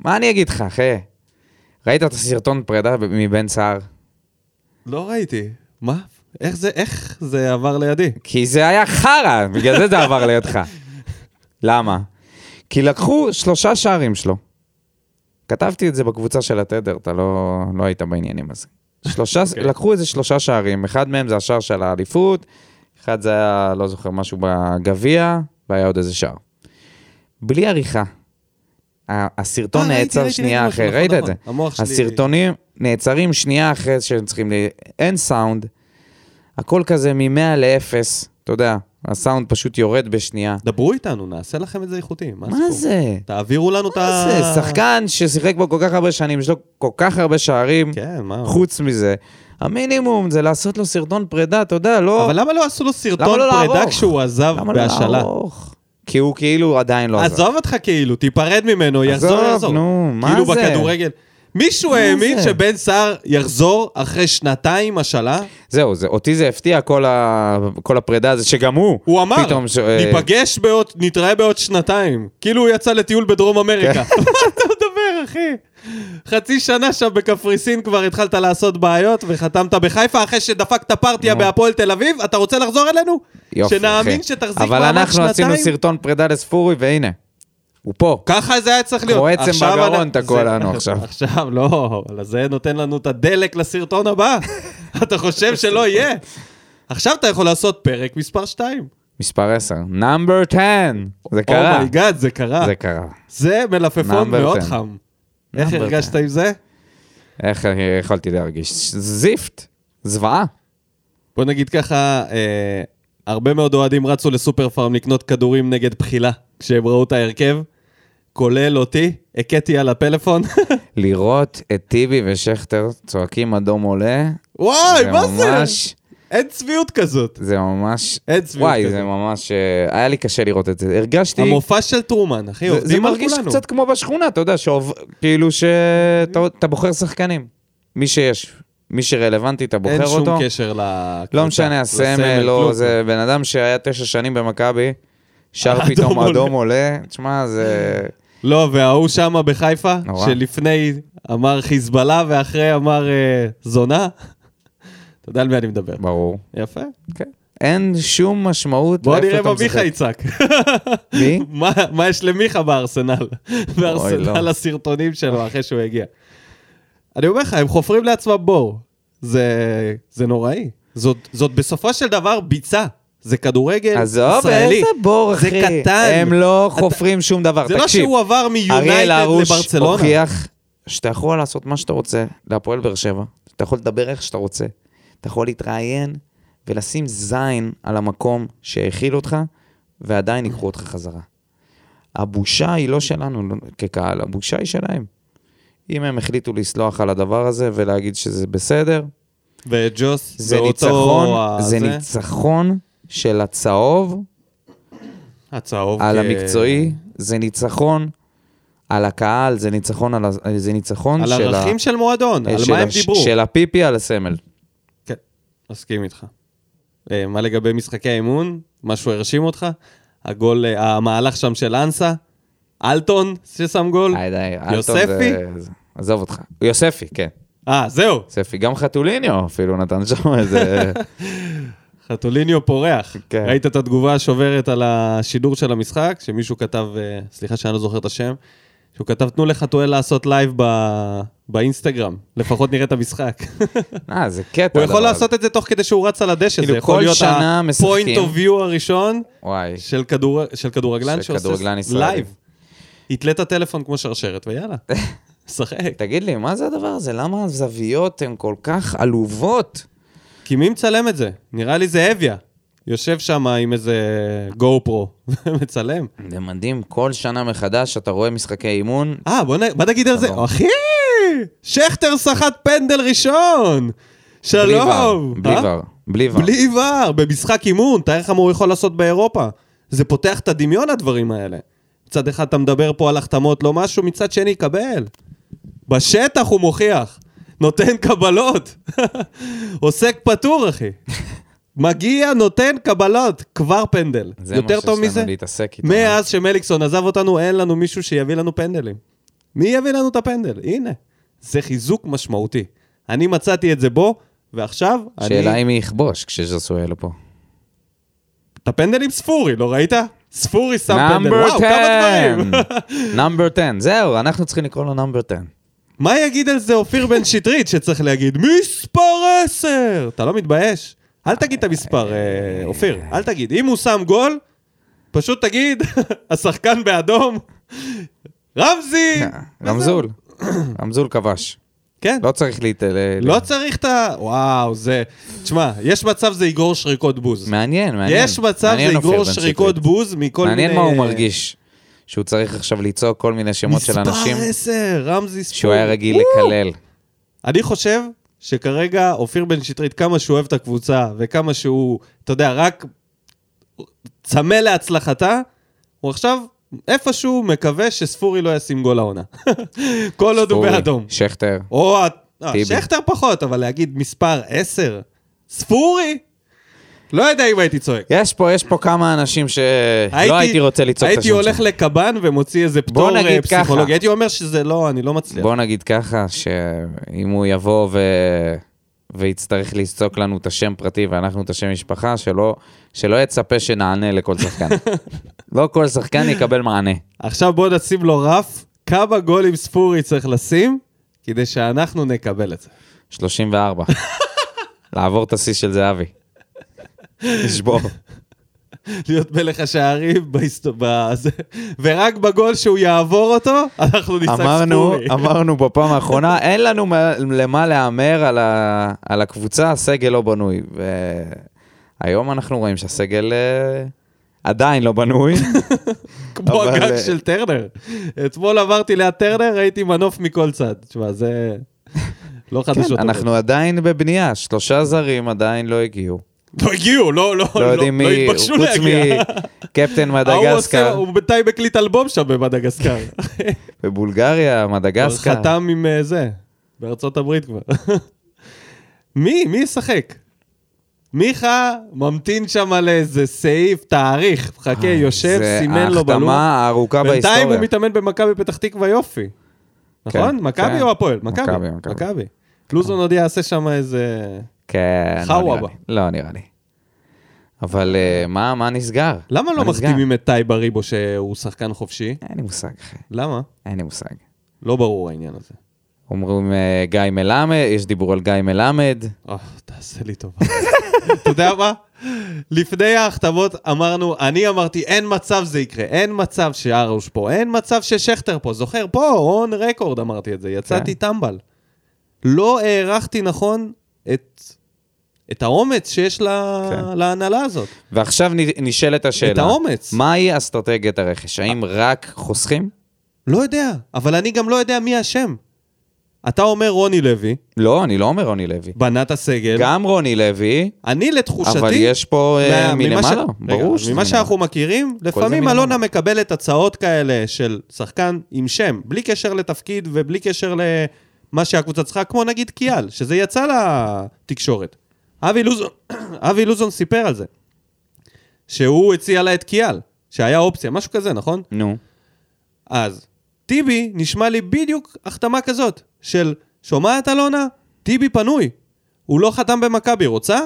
מה אני אגיד לך, אחי? ראית את הסרטון פרידה מבן סער?
לא ראיתי. מה? איך זה, איך זה עבר לידי?
כי זה היה חרא, בגלל זה זה עבר לידך. למה? כי לקחו שלושה שערים שלו. כתבתי את זה בקבוצה של התדר, אתה לא, לא היית בעניינים הזה. שלושה, okay.
אוקיי.
לקחו איזה שלושה שערים, אחד מהם זה השער של האליפות, אחד זה היה, לא זוכר, משהו בגביע, והיה עוד איזה שער. בלי עריכה. ה- הסרטון
אה, ראיתי,
נעצר
ראיתי,
שנייה
ראיתי,
אחרי,
נכון,
ראית את
נכון.
זה?
המוח שלי-
הסרטונים נעצרים שנייה אחרי שהם צריכים ל... אין סאונד, הכל כזה מ-100 ל-0, אתה יודע, הסאונד פשוט יורד בשנייה.
דברו איתנו, נעשה לכם את זה איכותי. מה,
מה
הסיפור?
זה?
תעבירו לנו את ה...
מה זה? שחקן ששיחק בו כל כך הרבה שנים, יש לו כל כך הרבה שערים,
כן, מה?
חוץ מזה. המינימום זה לעשות לו סרטון פרידה, אתה יודע, לא...
אבל למה לא עשו לו סרטון
לא
פרידה
לערוך?
כשהוא עזב
למה לא
בהשאלה?
לערוך? כי הוא כאילו עדיין לא עזב.
עזוב אותך כאילו, תיפרד ממנו,
עזוב,
יחזור, יחזור.
נו, מה
כאילו
זה?
בכדורגל. מישהו
מה
האמין
זה?
שבן סער יחזור אחרי שנתיים השאלה?
זהו, זה- אותי זה הפתיע כל ה- כל הפרידה הזה, שגם הוא.
הוא אמר,
פתאום ש- אה,
ניפגש בעוד, נתראה בעוד שנתיים. כאילו הוא יצא לטיול בדרום אמריקה.
כן.
מה אתה מדבר, אחי? חצי שנה שם בקפריסין כבר התחלת לעשות בעיות וחתמת בחיפה אחרי שדפקת פרטיה
נו.
בהפועל תל אביב? אתה רוצה לחזור אלינו?
יופי,
שנאמין
אחי.
שתחזיק
אבל
מעמד
אנחנו עשינו
שנתיים?
סרטון פרידה לספורי, והנה, הוא פה.
ככה זה היה צריך להיות.
כמו עצם
עכשיו
בגרון
אני-
תקוע
זה-
לנו עכשיו.
עכשיו, לא, אבל זה נותן לנו את הדלק לסרטון הבא. אתה חושב שלא יהיה? עכשיו אתה יכול לעשות פרק מספר 2.
מספר 10. נאמבר 10! זה קרה.
אומייגאד, Oh זה קרה.
זה קרה.
זה מלפפון
Number
מאוד
10.
חם. איך
Number
הרגשת
10.
עם זה?
איך אני יכולתי להרגיש? זיפט, זוועה.
בוא נגיד ככה, אה, הרבה מאוד אוהדים רצו לסופר פארם לקנות כדורים נגד בחילה כשהם ראו את ההרכב, כולל אותי, הכיתי על הפלאפון.
לראות את טיבי ושכטר צועקים אדום עולה,
וואי,
זה
מה זה?
ממש,
אין צביעות כזאת.
זה ממש,
אין צביעות
וואי,
כזאת.
זה ממש, אה, היה לי קשה לראות את זה. הרגשתי,
המופע של טרומן, אחי,
זה- זה
עובדים על
מרגיש
כולנו.
קצת כמו בשכונה, אתה יודע, שאוב- כאילו שאתה אתה בוחר שחקנים. מי שיש, מי שרלוונטי, אתה בוחר
אין
אותו.
שום קשר לקבוצה.
לא משנה, הסמל, לא,
כלום.
זה בן אדם שהיה תשע שנים במכבי, שר
אדום
פתאום
עולה.
אדום עולה, תשמע, זה...
לא, וההוא שמה בחיפה,
נורא.
שלפני אמר חיזבאללה ואחרי אמר אה, זונה. אתה יודע על מי אני מדבר.
ברור.
יפה.
כן. אין שום משמעות.
בוא
לאיפה
נראה
אתה
מה מיכה
משחק.
יצעק.
מי?
מה- מה יש למיכה בארסנל? בארסנל
לא.
הסרטונים שלו אחרי שהוא הגיע. אני אומר לך, הם חופרים לעצמם בור. זה זה נוראי. זאת זאת בסופו של דבר ביצה. זה כדורגל ישראלי.
עזוב, איזה בור, אחי.
זה קטן.
הם לא
אתה-
חופרים שום דבר.
זה לא
תקשיב,
שהוא עבר
אריאל
מיונייטד
הרוש
לברצלונה.
הוכיח שאתה יכול לעשות מה שאתה רוצה להפועל באר שבע, אתה יכול לדבר איך שאתה רוצה, אתה יכול להתראיין ולשים זין על המקום שהאכיל אותך, ועדיין ייקחו אותך חזרה. הבושה היא לא שלנו לא- כקהל, הבושה היא שלהם. אם הם החליטו לסלוח על הדבר הזה ולהגיד שזה בסדר,
וג'וס,
זה
באותו
ניצחון,
ה-
זה ניצחון של הצהוב
הצהוב.
על
כ-
המקצועי, זה ניצחון על הקהל, זה ניצחון על ה- זה ניצחון
על
של ה- אה,
ערכים של מועדון, על
של
מה הם
הש-
דיברו.
של הפיפי על הסמל.
כן, מסכים איתך. אה, מה לגבי משחקי האימון? משהו הרשים אותך? הגול, אה, המהלך שם של אנסה? אלטון ששם גול?
היי, אה, די, אלטון
יוספי?
זה- זה- עזוב אותך. יוספי, כן.
אה, זהו,
יוספי, גם חתוליניו אפילו נתן שם איזה...
חתוליניו פורח.
כן.
ראית את התגובה השוברת על השידור של המשחק? שמישהו כתב, אה, סליחה שאני לא זוכר את השם, שהוא כתב, תנו לחתואל לעשות לייב ב- באינסטגרם, לפחות נראה את המשחק.
אה, זה קטע.
הוא
הדבר
יכול
הזה.
לעשות את זה תוך כדי שהוא רץ על הדשא,
כאילו,
זה יכול
כל
להיות
שנה משחקים.
ה-point of view הראשון
וואי,
של כדור- של כדורגלן
של
שעושה
כדורגלן ישראלי.
לייב. יתלה את הטלפון כמו שרשרת ויאללה, שחק.
תגיד לי, מה זה הדבר הזה? למה הזוויות הן כל כך עלובות?
כי מי מצלם את זה? נראה לי זה אביה. יושב שם עם איזה גו פרו ומצלם.
זה מדהים, כל שנה מחדש אתה רואה משחקי אימון.
אה, בוא, נ... בוא נגיד על זה.
סבבה.
אחי! שכטר סחט פנדל ראשון!
בלי
שלום!
ור, לא, בלי
אה?
ור, בלי ור.
בלי ור, במשחק אימון, תאר לך מה הוא יכול לעשות באירופה. זה פותח את הדמיון, הדברים האלה. מצד אחד אתה מדבר פה על החתמות, לא משהו, מצד שני, קבל. בשטח הוא מוכיח. נותן קבלות. עוסק פטור, אחי. מגיע, נותן קבלות, כבר פנדל.
זה מה
יותר טוב
שיש
מזה?
לנו להתעסק איתו.
מאז שמליקסון עזב אותנו, אין לנו מישהו שיביא לנו פנדלים. מי יביא לנו את הפנדל? הנה. זה חיזוק משמעותי. אני מצאתי את זה בו, ועכשיו אני...
שאלה אם מי יכבוש כשז'סואל לא פה.
את הפנדל עם ספורי, לא ראית? ספורי שם פנדל,
נאמבר
וואו, כמה דברים.
10! נאמבר 10, זהו, אנחנו צריכים לקרוא לו נאמבר 10.
מה יגיד על זה אופיר בן שטרית שצריך להגיד, מספר 10! אתה לא מתבייש? אל תגיד את המספר, אה, אופיר, אל תגיד. אם הוא שם גול, פשוט תגיד, השחקן באדום, רמזי!
רמזול, רמזול כבש.
כן,
לא צריך להת... ל-
לא צריך את ה... וואו, זה... תשמע, יש מצב זה יגרור שריקות בוז.
מעניין, מעניין.
יש מצב
מעניין
זה
אופיר
יגרור
בן
שריקות
שטרית.
בוז מכל מיני...
מעניין מה הוא מרגיש, שהוא צריך עכשיו לצעוק כל מיני שמות של אנשים
מספר 10, רמזי ספורי.
שהוא היה רגיל לקלל.
אני חושב שכרגע אופיר בן שטרית, כמה שהוא אוהב את הקבוצה, וכמה שהוא, אתה יודע, רק צמא להצלחתה, הוא עכשיו איפשהו מקווה שספורי לא ישים גול העונה. כל עוד הוא
אורי,
באדום.
שכטר.
או, ה- אה,
טיבי.
שכטר פחות, אבל להגיד מספר 10, ספורי? לא יודע אם הייתי צועק.
יש פה, יש פה כמה אנשים שלא לא הייתי רוצה לצעוק את השם
הייתי הולך
שלהם.
לקב"ן ומוציא איזה פטור אה,
נגיד ככה.
פסיכולוגי. הייתי אומר שזה לא, אני לא מצליח.
בוא נגיד ככה, שאם הוא יבוא ו... ויצטרך לצעוק לנו את השם פרטי ואנחנו את השם משפחה, שלא, שלא יצפה שנענה לכל שחקן. לא כל שחקן יקבל מענה.
עכשיו בוא נשים לו רף, כמה גולים ספורי צריך לשים, כדי שאנחנו נקבל את זה.
34. לעבור את השיא של זהבי. לשבור.
להיות מלך השערים בהיסט... בזה. ורק בגול שהוא יעבור אותו, אנחנו נצעק
אמרנו,
ספורי.
אמרנו בפעם האחרונה, אין לנו מה- למה להמר על, ה, על הקבוצה, הסגל לא בנוי. והיום אנחנו רואים שהסגל אה, עדיין לא בנוי.
כמו
אבל,
הגג
אה,
של טרנר. אתמול עברתי ליד טרנר, ראיתי מנוף מכל צד. תשמע, זה לא חדשות.
כן,
טובות.
אנחנו עדיין בבנייה, שלושה זרים עדיין לא הגיעו.
לא הגיעו, לא, לא,
לא
לא,
יודעים
לא
מי,
התבקשו
חוץ
להגיע.
מקפטן
ההוא עושה-
מדגסקר,
הוא בינתיים הקליט אלבום שם במדגסקר.
בבולגריה,
כבר
מדגסקר.
חתם עם אה, זה, בארצות הברית כבר. מי? מי ישחק? מיכה ממתין שם לאיזה סעיף, תאריך, חכה, אוקיי, יושב,
אה, זה
סימן לו בלוח.
ההחתמה הארוכה
בינתיים הוא
בהיסטוריה.
מתאמן במכבי פתח תקווה יופי. נכון?
כן,
מכבי
כן.
או הפועל? מכבי.
מכבי, מכבי.
מכבי. לוזון עוד יעשה שם איזה...
כן, לא
חאווה
נראה
בה.
לי. לא נראה לי. אבל אה, מה מה נסגר?
למה
מה
לא
נסגר?
מחתימים את טייב אריבו שהוא שחקן חופשי?
אין לי מושג, אחי.
למה?
אין לי מושג.
לא ברור העניין הזה.
אומרים אה, גיא מלמד, יש דיבור על גיא מלמד.
אה, תעשה לי טובה. אתה יודע מה? לפני ההכתבות אמרנו, אני אמרתי, אין מצב זה יקרה, אין מצב שארוש פה, אין מצב ששכטר פה, זוכר? פה, און רקורד אמרתי את זה, יצאתי
כן.
טמבל. לא הערכתי נכון את, את האומץ שיש לה,
כן.
להנהלה הזאת.
ועכשיו נ- נשאלת השאלה.
את האומץ.
מהי אסטרטגיית הרכש? האם רק חוסכים?
לא יודע, אבל אני גם לא יודע מי אשם. אתה אומר רוני לוי,
לא, אני לא אומר רוני לוי.
בנה את הסגל.
גם רוני לוי,
אני לתחושתי...
אבל יש פה אה,
מה- ממה
מלמעלה.
ש- רגע,
ברור שזה
ממה
מלמעלה.
שאנחנו מכירים, לפעמים
מלמעלה.
אלונה מקבלת הצעות כאלה של שחקן עם שם, בלי קשר לתפקיד ובלי קשר למה שהקבוצה צריכה, כמו נגיד קיאל, שזה יצא לתקשורת. אבי לוזון, אבי לוזון סיפר על זה, שהוא הציע לה את קיאל, שהיה אופציה, משהו כזה, נכון?
נו.
אז טיבי נשמע לי בדיוק החתמה כזאת, של שומעת אלונה? טיבי פנוי. הוא לא חתם במכבי, רוצה?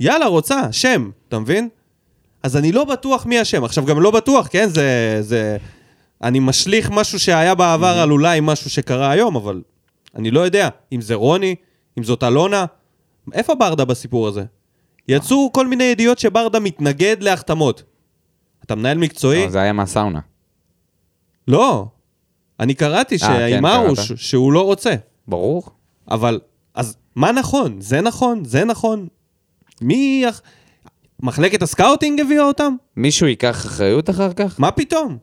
יאללה, רוצה, שם, אתה מבין? אז אני לא בטוח מי השם. עכשיו, גם לא בטוח, כן? זה... זה... אני משליך משהו שהיה בעבר על אולי משהו שקרה היום, אבל אני לא יודע. אם זה רוני, אם זאת אלונה, איפה ברדה בסיפור הזה? יצאו כל מיני ידיעות שברדה מתנגד להחתמות. אתה מנהל מקצועי?
לא, זה היה מהסאונה.
לא. אני קראתי
כן,
שעם ארוש,
קראת.
שהוא לא רוצה.
ברור.
אבל, אז מה נכון? זה נכון? זה נכון? מי... יח- מחלקת הסקאוטינג הביאה אותם?
מישהו ייקח אחריות אחר כך?
מה פתאום?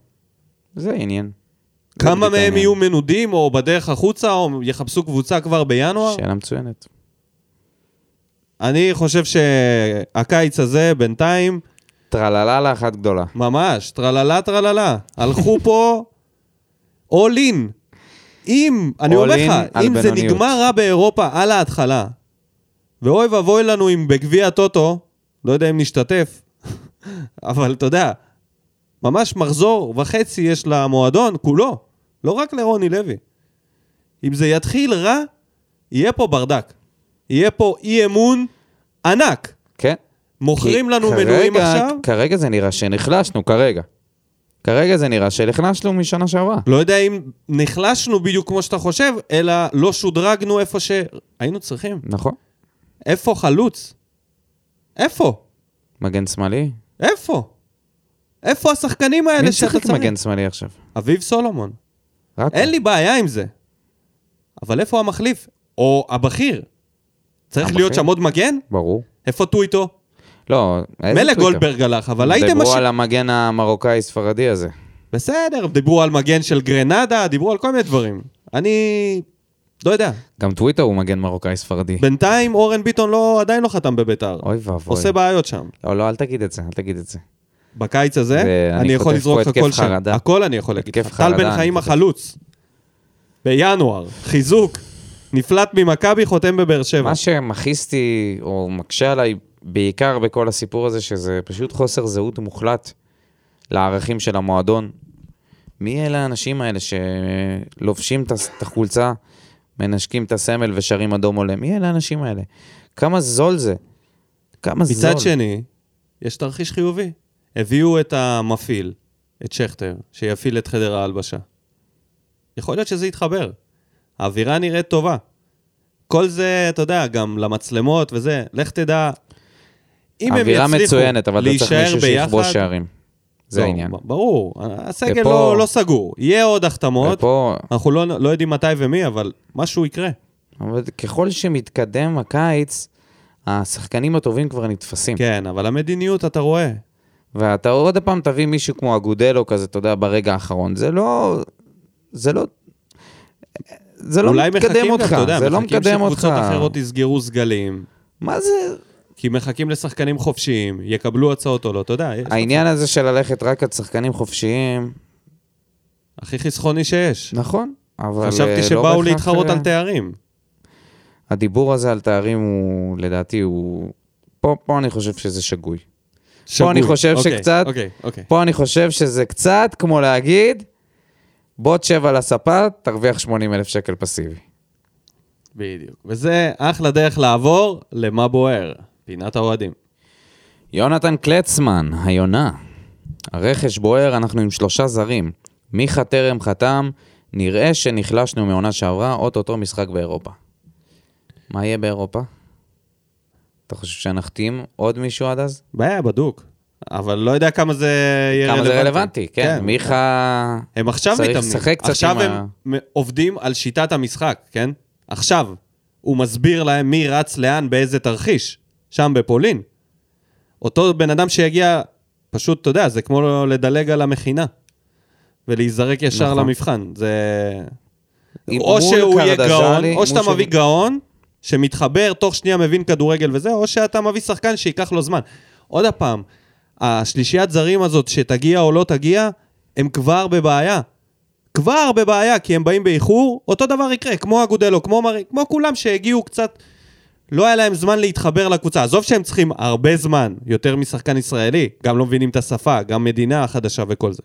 זה עניין. זה
כמה
בדיוק
מהם
העניין.
יהיו מנודים, או בדרך החוצה, או יחפשו קבוצה כבר בינואר?
שאלה מצוינת.
אני חושב שהקיץ הזה, בינתיים,
טרללה אחת גדולה.
ממש, טרללה טרללה. הלכו פה all in. אם, אני
All
אומר לך,
in על
אם זה
בינוניות.
נגמר רע באירופה על ההתחלה, ואוי ואבוי לנו אם בגביע הטוטו, לא יודע אם נשתתף, אבל אתה יודע, ממש מחזור וחצי יש למועדון כולו, לא רק לרוני לוי. אם זה יתחיל רע, יהיה פה ברדק. יהיה פה אי אמון ענק.
כן.
מוכרים
כי
לנו
כרגע-
מנויים עכשיו?
כרגע זה נראה שנחלשנו, כרגע. כרגע זה נראה שנחלשנו משנה שעברה.
לא יודע אם נחלשנו בדיוק כמו שאתה חושב, אלא לא שודרגנו איפה שהיינו צריכים.
נכון.
איפה חלוץ? איפה?
מגן שמאלי?
איפה? איפה השחקנים
מי
האלה שאתה
משחק
צריך?
מגן שמאלי עכשיו?
אביב סולומון.
רק
אין לי בעיה עם זה. אבל איפה המחליף? או הבכיר. צריך
הבכיר?
להיות שם עוד מגן?
ברור.
איפה טויטו?
לא, איזה
מילא
טוויטר.
גולדברג הלך, אבל הייתם...
דיברו
מש-
על המגן המרוקאי-ספרדי הזה.
בסדר, דיברו על מגן של גרנדה, דיברו על כל מיני דברים. אני... לא יודע.
גם טוויטר הוא מגן מרוקאי-ספרדי.
בינתיים אורן ביטון לא, עדיין לא חתם בביתר.
אוי ואבוי.
עושה בעיות שם.
לא, לא, אל תגיד את זה, אל תגיד את זה.
בקיץ הזה,
ואני
אני יכול
חוטף
לזרוק לך
פה התקף
כל שם.
חרדה.
הכל אני יכול להגיד
התקף
לך. טל
חרדה,
בן חיים
אני חוטף.
החלוץ. בינואר, חיזוק. נפלט ממכבי, חותם בבאר שבע.
מה שמכעיס אותי, או מקשה עליי, בעיקר בכל הסיפור הזה, שזה פשוט חוסר זהות מוחלט לערכים של המועדון. מי אלה האנשים האלה שלובשים את הס- את החולצה, מנשקים את הסמל ושרים אדום עולה? מי אלה האנשים האלה? כמה זול זה? כמה זול.
מצד שני, יש תרחיש חיובי. הביאו את המפעיל, את שכטר, שיפעיל את חדר ההלבשה. יכול להיות שזה יתחבר. האווירה נראית טובה. כל זה, אתה יודע, גם למצלמות וזה, לך תדע. אם הם
אווירה
יצליחו
מצוינת, אבל אתה צריך
להישאר
מישהו שיכבוש
ביחד,
שערים. זה
לא,
העניין.
ב- ברור, הסגל
ופה-
לא, לא סגור. יהיה עוד החתמות,
ופה,
אנחנו לא, לא יודעים מתי ומי, אבל משהו יקרה.
כן. אבל ככל שמתקדם הקיץ, השחקנים הטובים כבר נתפסים.
כן, אבל המדיניות, אתה רואה.
ואתה עוד פעם תביא מישהו כמו אגודלו כזה, אתה יודע, ברגע האחרון. זה לא... זה לא... זה לא
אולי
מקדם
מחכים
אותך,
גם, אתה יודע,
זה לא
מחכים
מקדם אותך.
שקבוצות אחרות יסגרו סגלים,
מה זה?
כי מחכים לשחקנים חופשיים, יקבלו הצעות או לא, אתה יודע, יש-
העניין הזה של ללכת רק על שחקנים חופשיים,
הכי חסכוני שיש.
נכון, אבל... אה,
חשבתי
לא
שבאו
בהכרח,
להתחרות
אה,
על תארים.
הדיבור הזה על תארים הוא, לדעתי, הוא... פה, פה אני חושב שזה שגוי.
שגוי.
אני חושב
אוקיי,
שקצת-
אוקיי, אוקיי.
פה אני חושב שזה קצת כמו להגיד, בוא תשב על הספה, תרוויח 80 אלף שקל פסיבי.
בדיוק. וזה אחלה דרך לעבור למה בוער, פינת האוהדים.
יונתן קלצמן, היונה. הרכש בוער, אנחנו עם שלושה זרים. מיכה טרם חתם, נראה שנחלשנו מעונה שעברה, אוטוטו משחק באירופה. מה יהיה באירופה? אתה חושב שנחתים עוד מישהו עד אז?
בעיה, בדוק. אבל לא יודע כמה זה יהיה
כמה זה רלוונטי, כן. מיכה...
הם עכשיו
צריך
מתאמנים.
לשחק קצת
עכשיו
עם ה-
הם מ- עובדים על שיטת המשחק, כן? עכשיו. הוא מסביר להם מי רץ לאן, באיזה תרחיש. שם בפולין. אותו בן אדם שיגיע, פשוט, אתה יודע, זה כמו לדלג על המכינה. ולהיזרק ישר
נכון.
למבחן. זה...
עם-
או
מול
שהוא יהיה
קרדז'לי,
גאון,
מול
או שאתה
שהוא-
מביא גאון, שמתחבר, תוך שנייה מבין כדורגל וזה, או שאתה מביא שחקן שייקח לו זמן. עוד פעם, השלישיית זרים הזאת, שתגיע או לא תגיע, הם כבר בבעיה. כבר בבעיה, כי הם באים באיחור, אותו דבר יקרה, כמו אגודלו, כמו מרי, כמו כולם שהגיעו קצת, לא היה להם זמן להתחבר לקבוצה. עזוב שהם צריכים הרבה זמן, יותר משחקן ישראלי, גם לא מבינים את השפה, גם מדינה חדשה וכל זה.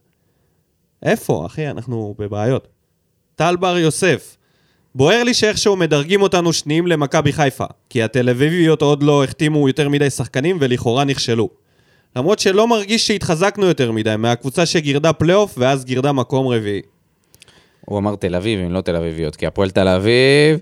איפה, אחי? אנחנו בבעיות. טל בר יוסף, בוער לי שאיכשהו מדרגים אותנו שניים למכבי חיפה, כי התל אביביות עוד לא החתימו יותר מדי שחקנים ולכאורה נכשלו. למרות שלא מרגיש שהתחזקנו יותר מדי מהקבוצה שגירדה פלייאוף ואז גירדה מקום רביעי.
הוא אמר תל אביב, אם לא תל אביביות, כי הפועל תל אביב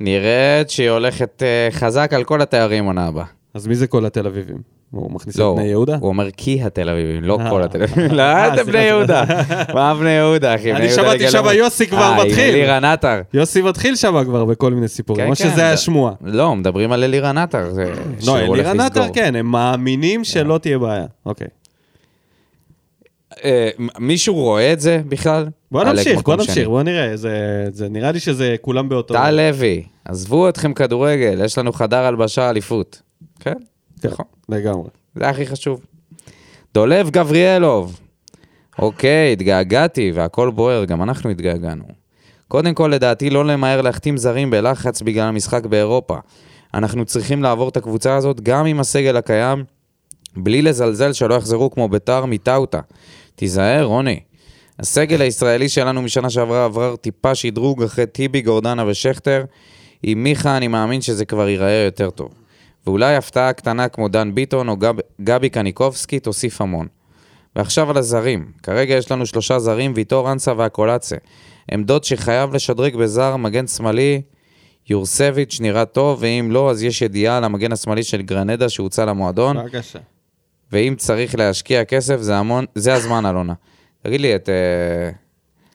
נראית שהיא הולכת אה, חזק על כל התארים עונה הבאה.
אז מי זה כל התל אביבים? הוא מכניס
לא,
את בני יהודה?
הוא אומר כי התל אביבים, לא
אה.
כל התל אביבים. לא,
אה,
אתה
סליחה,
בני יהודה.
סליחה.
מה בני יהודה, אחי?
אני
בני יהודה
שמעתי
ליגה
שם,
לאומית.
יוסי כבר מתחיל.
אה, עם אלירן עטר.
יוסי מתחיל שם כבר בכל מיני סיפורים,
כן,
או
כן,
שזה היה
זה-
שמועה.
לא, מדברים על אלירן עטר. זה- שהוא
לא,
הולך
אלירן עטר
לסגור.
כן, הם מאמינים שלא תהיה בעיה. אוקיי.
אה, מישהו רואה את זה בכלל?
בוא
עלק
נמשיך,
מקום
בוא נמשיך,
שני.
בוא נראה. זה- זה נראה לי שזה כולם באותו...
טל לוי, עזבו אתכם כדורגל, יש לנו חדר הלבשה אליפות. כן,
כן,
נכון.
לגמרי.
זה הכי חשוב. דולב גבריאלוב. אוקיי, התגעגעתי והכל בוער, גם אנחנו התגעגענו. קודם כל, לדעתי, לא למהר להחתים זרים בלחץ בגלל המשחק באירופה. אנחנו צריכים לעבור את הקבוצה הזאת גם עם הסגל הקיים, בלי לזלזל שלא יחזרו כמו ביתר מטאוטה. תיזהר, רוני. הסגל הישראלי שלנו משנה שעברה עבר טיפה שדרוג אחרי טיבי, גורדנה ושכטר. עם מיכה אני מאמין שזה כבר ייראה יותר טוב. ואולי הפתעה קטנה כמו דן ביטון או גב, גבי קניקובסקי תוסיף המון. ועכשיו על הזרים. כרגע יש לנו שלושה זרים, ויטור אנסה והקולצה. עמדות שחייב לשדרג בזר, מגן שמאלי, יורסביץ' נראה טוב, ואם לא, אז יש ידיעה על המגן השמאלי של גרנדה שהוצא למועדון.
בבקשה.
ואם צריך להשקיע כסף, זה המון, זה הזמן, אלונה. תגיד לי, את... אה,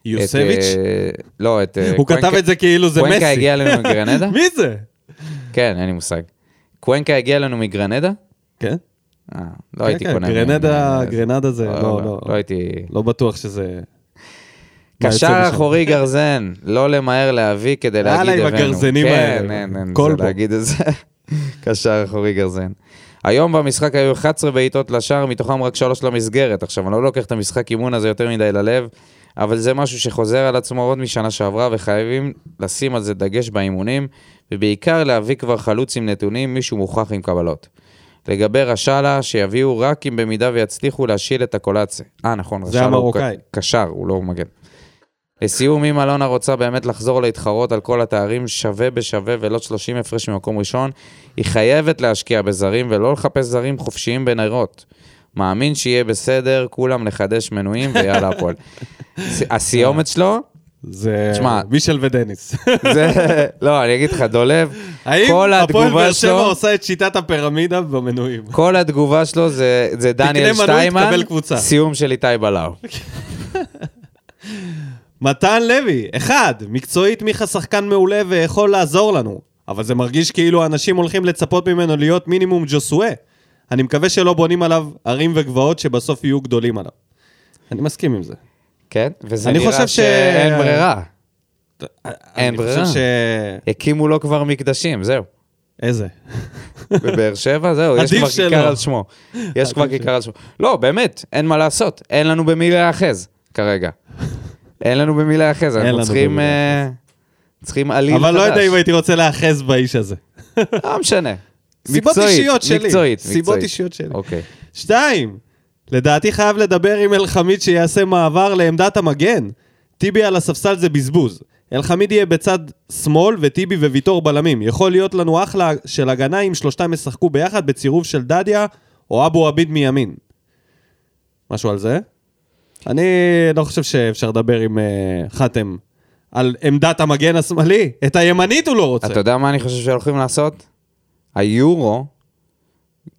יוסביץ'?
את, אה, לא, את... אה,
הוא כתב
קוונקה-
את זה כאילו זה מסי.
קוונקה הגיע אלינו מגרנדה?
מי זה?
כן, אין לי מושג. קוונקה הגיע אלינו מגרנדה?
כן?
אה, לא
כן,
הייתי
כן,
קונה.
גרנדה,
מ-
גרנדה זה, לא, לא.
לא הייתי...
לא בטוח שזה... מה יוצא
קשר
משם.
אחורי גרזן, לא למהר להביא כדי
יאללה,
להגיד
עם
הבאנו.
הגרזנים
כן,
האלה.
אין, אין,
כל
זה
בו.
להגיד את זה. קשר אחורי גרזן. היום במשחק היו 11 בעיטות לשער, מתוכם רק 3 למסגרת. עכשיו, אני לא לוקח את המשחק אימון הזה יותר מדי ללב, אבל זה משהו שחוזר על עצמו עוד משנה שעברה, וחייבים לשים על זה דגש באימונים, ובעיקר להביא כבר חלוץ עם נתונים, מישהו מוכח עם קבלות. לגבי רשאלה, שיביאו רק אם במידה ויצליחו להשיל את הקולציה. אה, נכון,
זה
רשאלה הוא
המרוקאי.
ק- קשר, הוא לא מגן. לסיום, אם אלונה רוצה באמת לחזור להתחרות על כל התארים שווה בשווה ולא 30 הפרש ממקום ראשון, היא חייבת להשקיע בזרים ולא לחפש זרים חופשיים בנרות. מאמין שיהיה בסדר, כולם לחדש מנויים ויאללה הפועל. הס- הסיומת שלו,
זה
תשמע.
מישל ודניס.
זה... לא, אני אגיד לך, דולב,
האם הפועל
כל
באר
התגובה
שבע
שלו,
עושה את שיטת הפירמידה במנויים?
כל התגובה שלו זה זה דניאל
מנוי,
שטיימן,
תקבל קבוצה.
סיום של איתי בלאו.
מתן לוי, אחד, מקצועית מיכה שחקן מעולה ויכול לעזור לנו, אבל זה מרגיש כאילו אנשים הולכים לצפות ממנו להיות מינימום ג'וסואה. אני מקווה שלא בונים עליו ערים וגבעות שבסוף יהיו גדולים עליו. אני מסכים עם זה.
כן? וזה
אני
נראה
חושב ש-
שאין ברירה. אין
אני
ברירה.
חושב ש...
הקימו לו כבר מקדשים, זהו.
איזה?
בבאר שבע, זהו, יש
עדיף
כבר
שלא.
כיכר על שמו. יש כבר
עדיף
כיכר על שמו. לא, באמת, אין מה לעשות. אין לנו במי להיאחז כרגע. אין לנו במי להיאחז,
לנו
אנחנו צריכים...
במי
אה, צריכים עליל חדש.
אבל לא יודע אם הייתי רוצה להיאחז באיש הזה.
לא משנה.
סיבות
מקצועית,
אישיות שלי.
מקצועית,
סיבות
מקצועית.
אישיות שלי.
אוקיי.
שתיים, לדעתי חייב לדבר עם אלחמיד שיעשה מעבר לעמדת המגן. טיבי על הספסל זה בזבוז. אלחמיד יהיה בצד שמאל וטיבי וויטור בלמים. יכול להיות לנו אחלה של הגנה אם שלושתם ישחקו ביחד בצירוף של דדיה או אבו עביד מימין. משהו על זה? אני לא חושב שאפשר לדבר עם uh, חתם על עמדת המגן השמאלי. את הימנית הוא לא רוצה.
אתה יודע מה אני חושב שהולכים לעשות? היורו,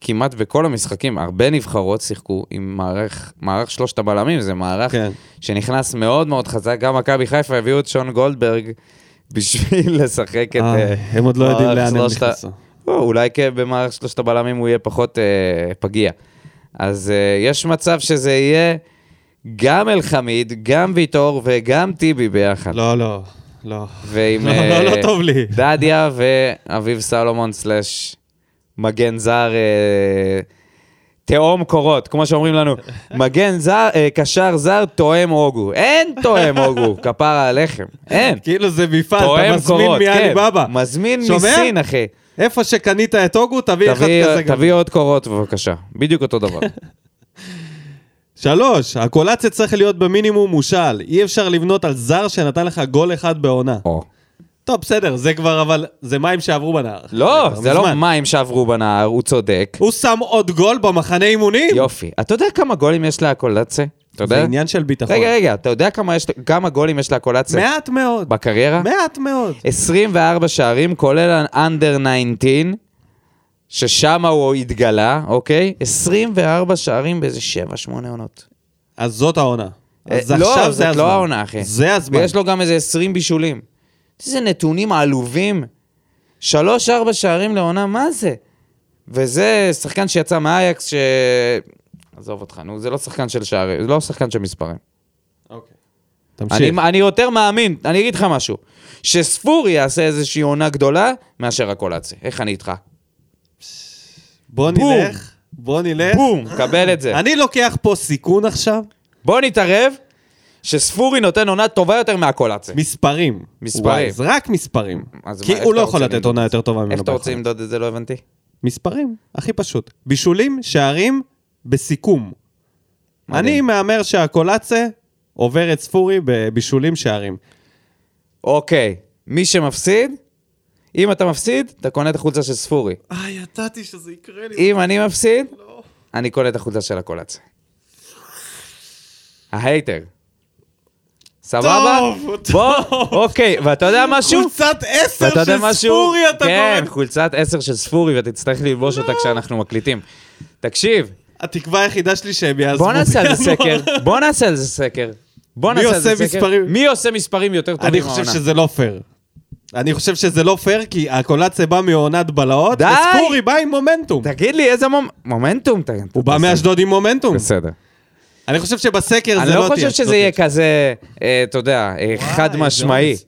כמעט בכל המשחקים, הרבה נבחרות שיחקו עם מערך, מערך שלושת הבלמים, זה מערך
כן.
שנכנס מאוד מאוד חזק, גם מכבי חיפה הביאו את שון גולדברג בשביל לשחק את...
איי,
אה,
הם עוד לא יודעים
מערך
לאן הם
שלושת ה-
נכנסו.
לא, אולי כ- במערך שלושת הבלמים הוא יהיה פחות אה, פגיע. אז אה, יש מצב שזה יהיה גם אלחמיד, גם ויטור וגם טיבי ביחד.
לא, לא, לא.
ועם
לא,
אה,
לא, לא טוב לי.
דדיה ואביב סלומון סלאש מגן זר אה, תאום קורות, כמו שאומרים לנו, מגן זר, אה, קשר זר, תואם הוגו. אין תואם הוגו, כפרה עליכם, אין.
כאילו זה מפעל, אתה
תואם
מזמין
קורות, כן.
מעליבאבא.
מזמין
שומע?
מסין, אחי.
איפה שקנית את הוגו, תביא אחד
תביא- אה,
כזה גם.
תביא עוד קורות בבקשה, בדיוק אותו דבר.
שלוש, הקולציה צריך להיות במינימום מושל. אי אפשר לבנות על זר שנתן לך גול אחד בעונה.
או.
טוב, בסדר, זה כבר אבל, זה מים שעברו בנהר.
לא,
כבר
זה לא
מזמן.
מים שעברו בנהר, הוא צודק.
הוא שם עוד גול במחנה אימונים?
יופי. אתה יודע כמה גולים יש לאקולצה? אתה יודע?
זה עניין של ביטחון.
רגע, רגע, אתה יודע כמה יש- כמה גולים יש לאקולצה?
מעט מאוד.
בקריירה?
מעט מאוד.
24 שערים, כולל אנדר 19, ששם הוא התגלה, אוקיי? 24 שערים באיזה 7-8 עונות.
אז זאת העונה. אז
אה,
עכשיו
לא,
זה
זאת
הזמן.
לא העונה, אחי.
זה הזמן.
ויש לו גם איזה 20 בישולים. איזה נתונים עלובים. שלוש, ארבע שערים לעונה, מה זה? וזה שחקן שיצא מאייקס, ש... עזוב אותך, נו, זה לא שחקן של שערים, זה לא שחקן של מספרים.
אוקיי.
אני,
תמשיך.
אני יותר מאמין, אני אגיד לך משהו, שספורי יעשה איזושהי עונה גדולה מאשר הקולאצי. איך אני איתך?
בוא
בום.
נלך. בוא נלך.
בום, קבל את זה.
אה. אני לוקח פה סיכון עכשיו.
בוא נתערב שספורי נותן עונה טובה יותר מהקולאצי.
מספרים.
מספרים.
וואי, זה רק מספרים.
אז
כי
מה, איך
הוא לא
אתה רוצה
יכול לתת
למדוד
עונה
את
יותר טובה ממנו.
איך אתה רוצה
בהתחלה.
למדוד את זה? לא הבנתי.
מספרים, הכי פשוט. בישולים, שערים, בסיכום.
מדהים.
אני מהמר שהקולאצה עובר את ספורי בבישולים, שערים.
אוקיי, מי שמפסיד, אם אתה מפסיד, אתה קונה את החולצה של ספורי.
אה, ידעתי שזה יקרה לי.
אם אני מפסיד, אני קונה את החולצה של הקולציה. ההייטר. סבבה? בוא, אוקיי, ואתה יודע משהו?
חולצת עשר
ואתה יודע
של
משהו?
ספורי אתה לא.
כן,
קורא.
חולצת 10 של ספורי, ואתה תצטרך ללבוש אותה כשאנחנו מקליטים. תקשיב,
התקווה היחידה שלי שהם יעזבו.
בוא נעשה על זה
בינואר.
סקר, בוא נעשה על זה סקר. בוא
מי
נעשה על זה
עושה
סקר.
מספרים?
מי עושה מספרים יותר טובים
אני חושב
העונה?
שזה לא פייר. אני חושב שזה לא פייר, כי הקולאצה בא מעונת בלהות,
די!
וספורי בא עם מומנטום.
תגיד לי, איזה מומ- מומנטום? אתה-
הוא בא
אתה-
מאשדוד עם מומנטום.
בסדר.
אני חושב שבסקר זה לא
אני
תהיה.
לא חושב שזה
אשדודית.
יהיה כזה, אה, אתה יודע, אה, חד
זה
משמעי.
אומץ.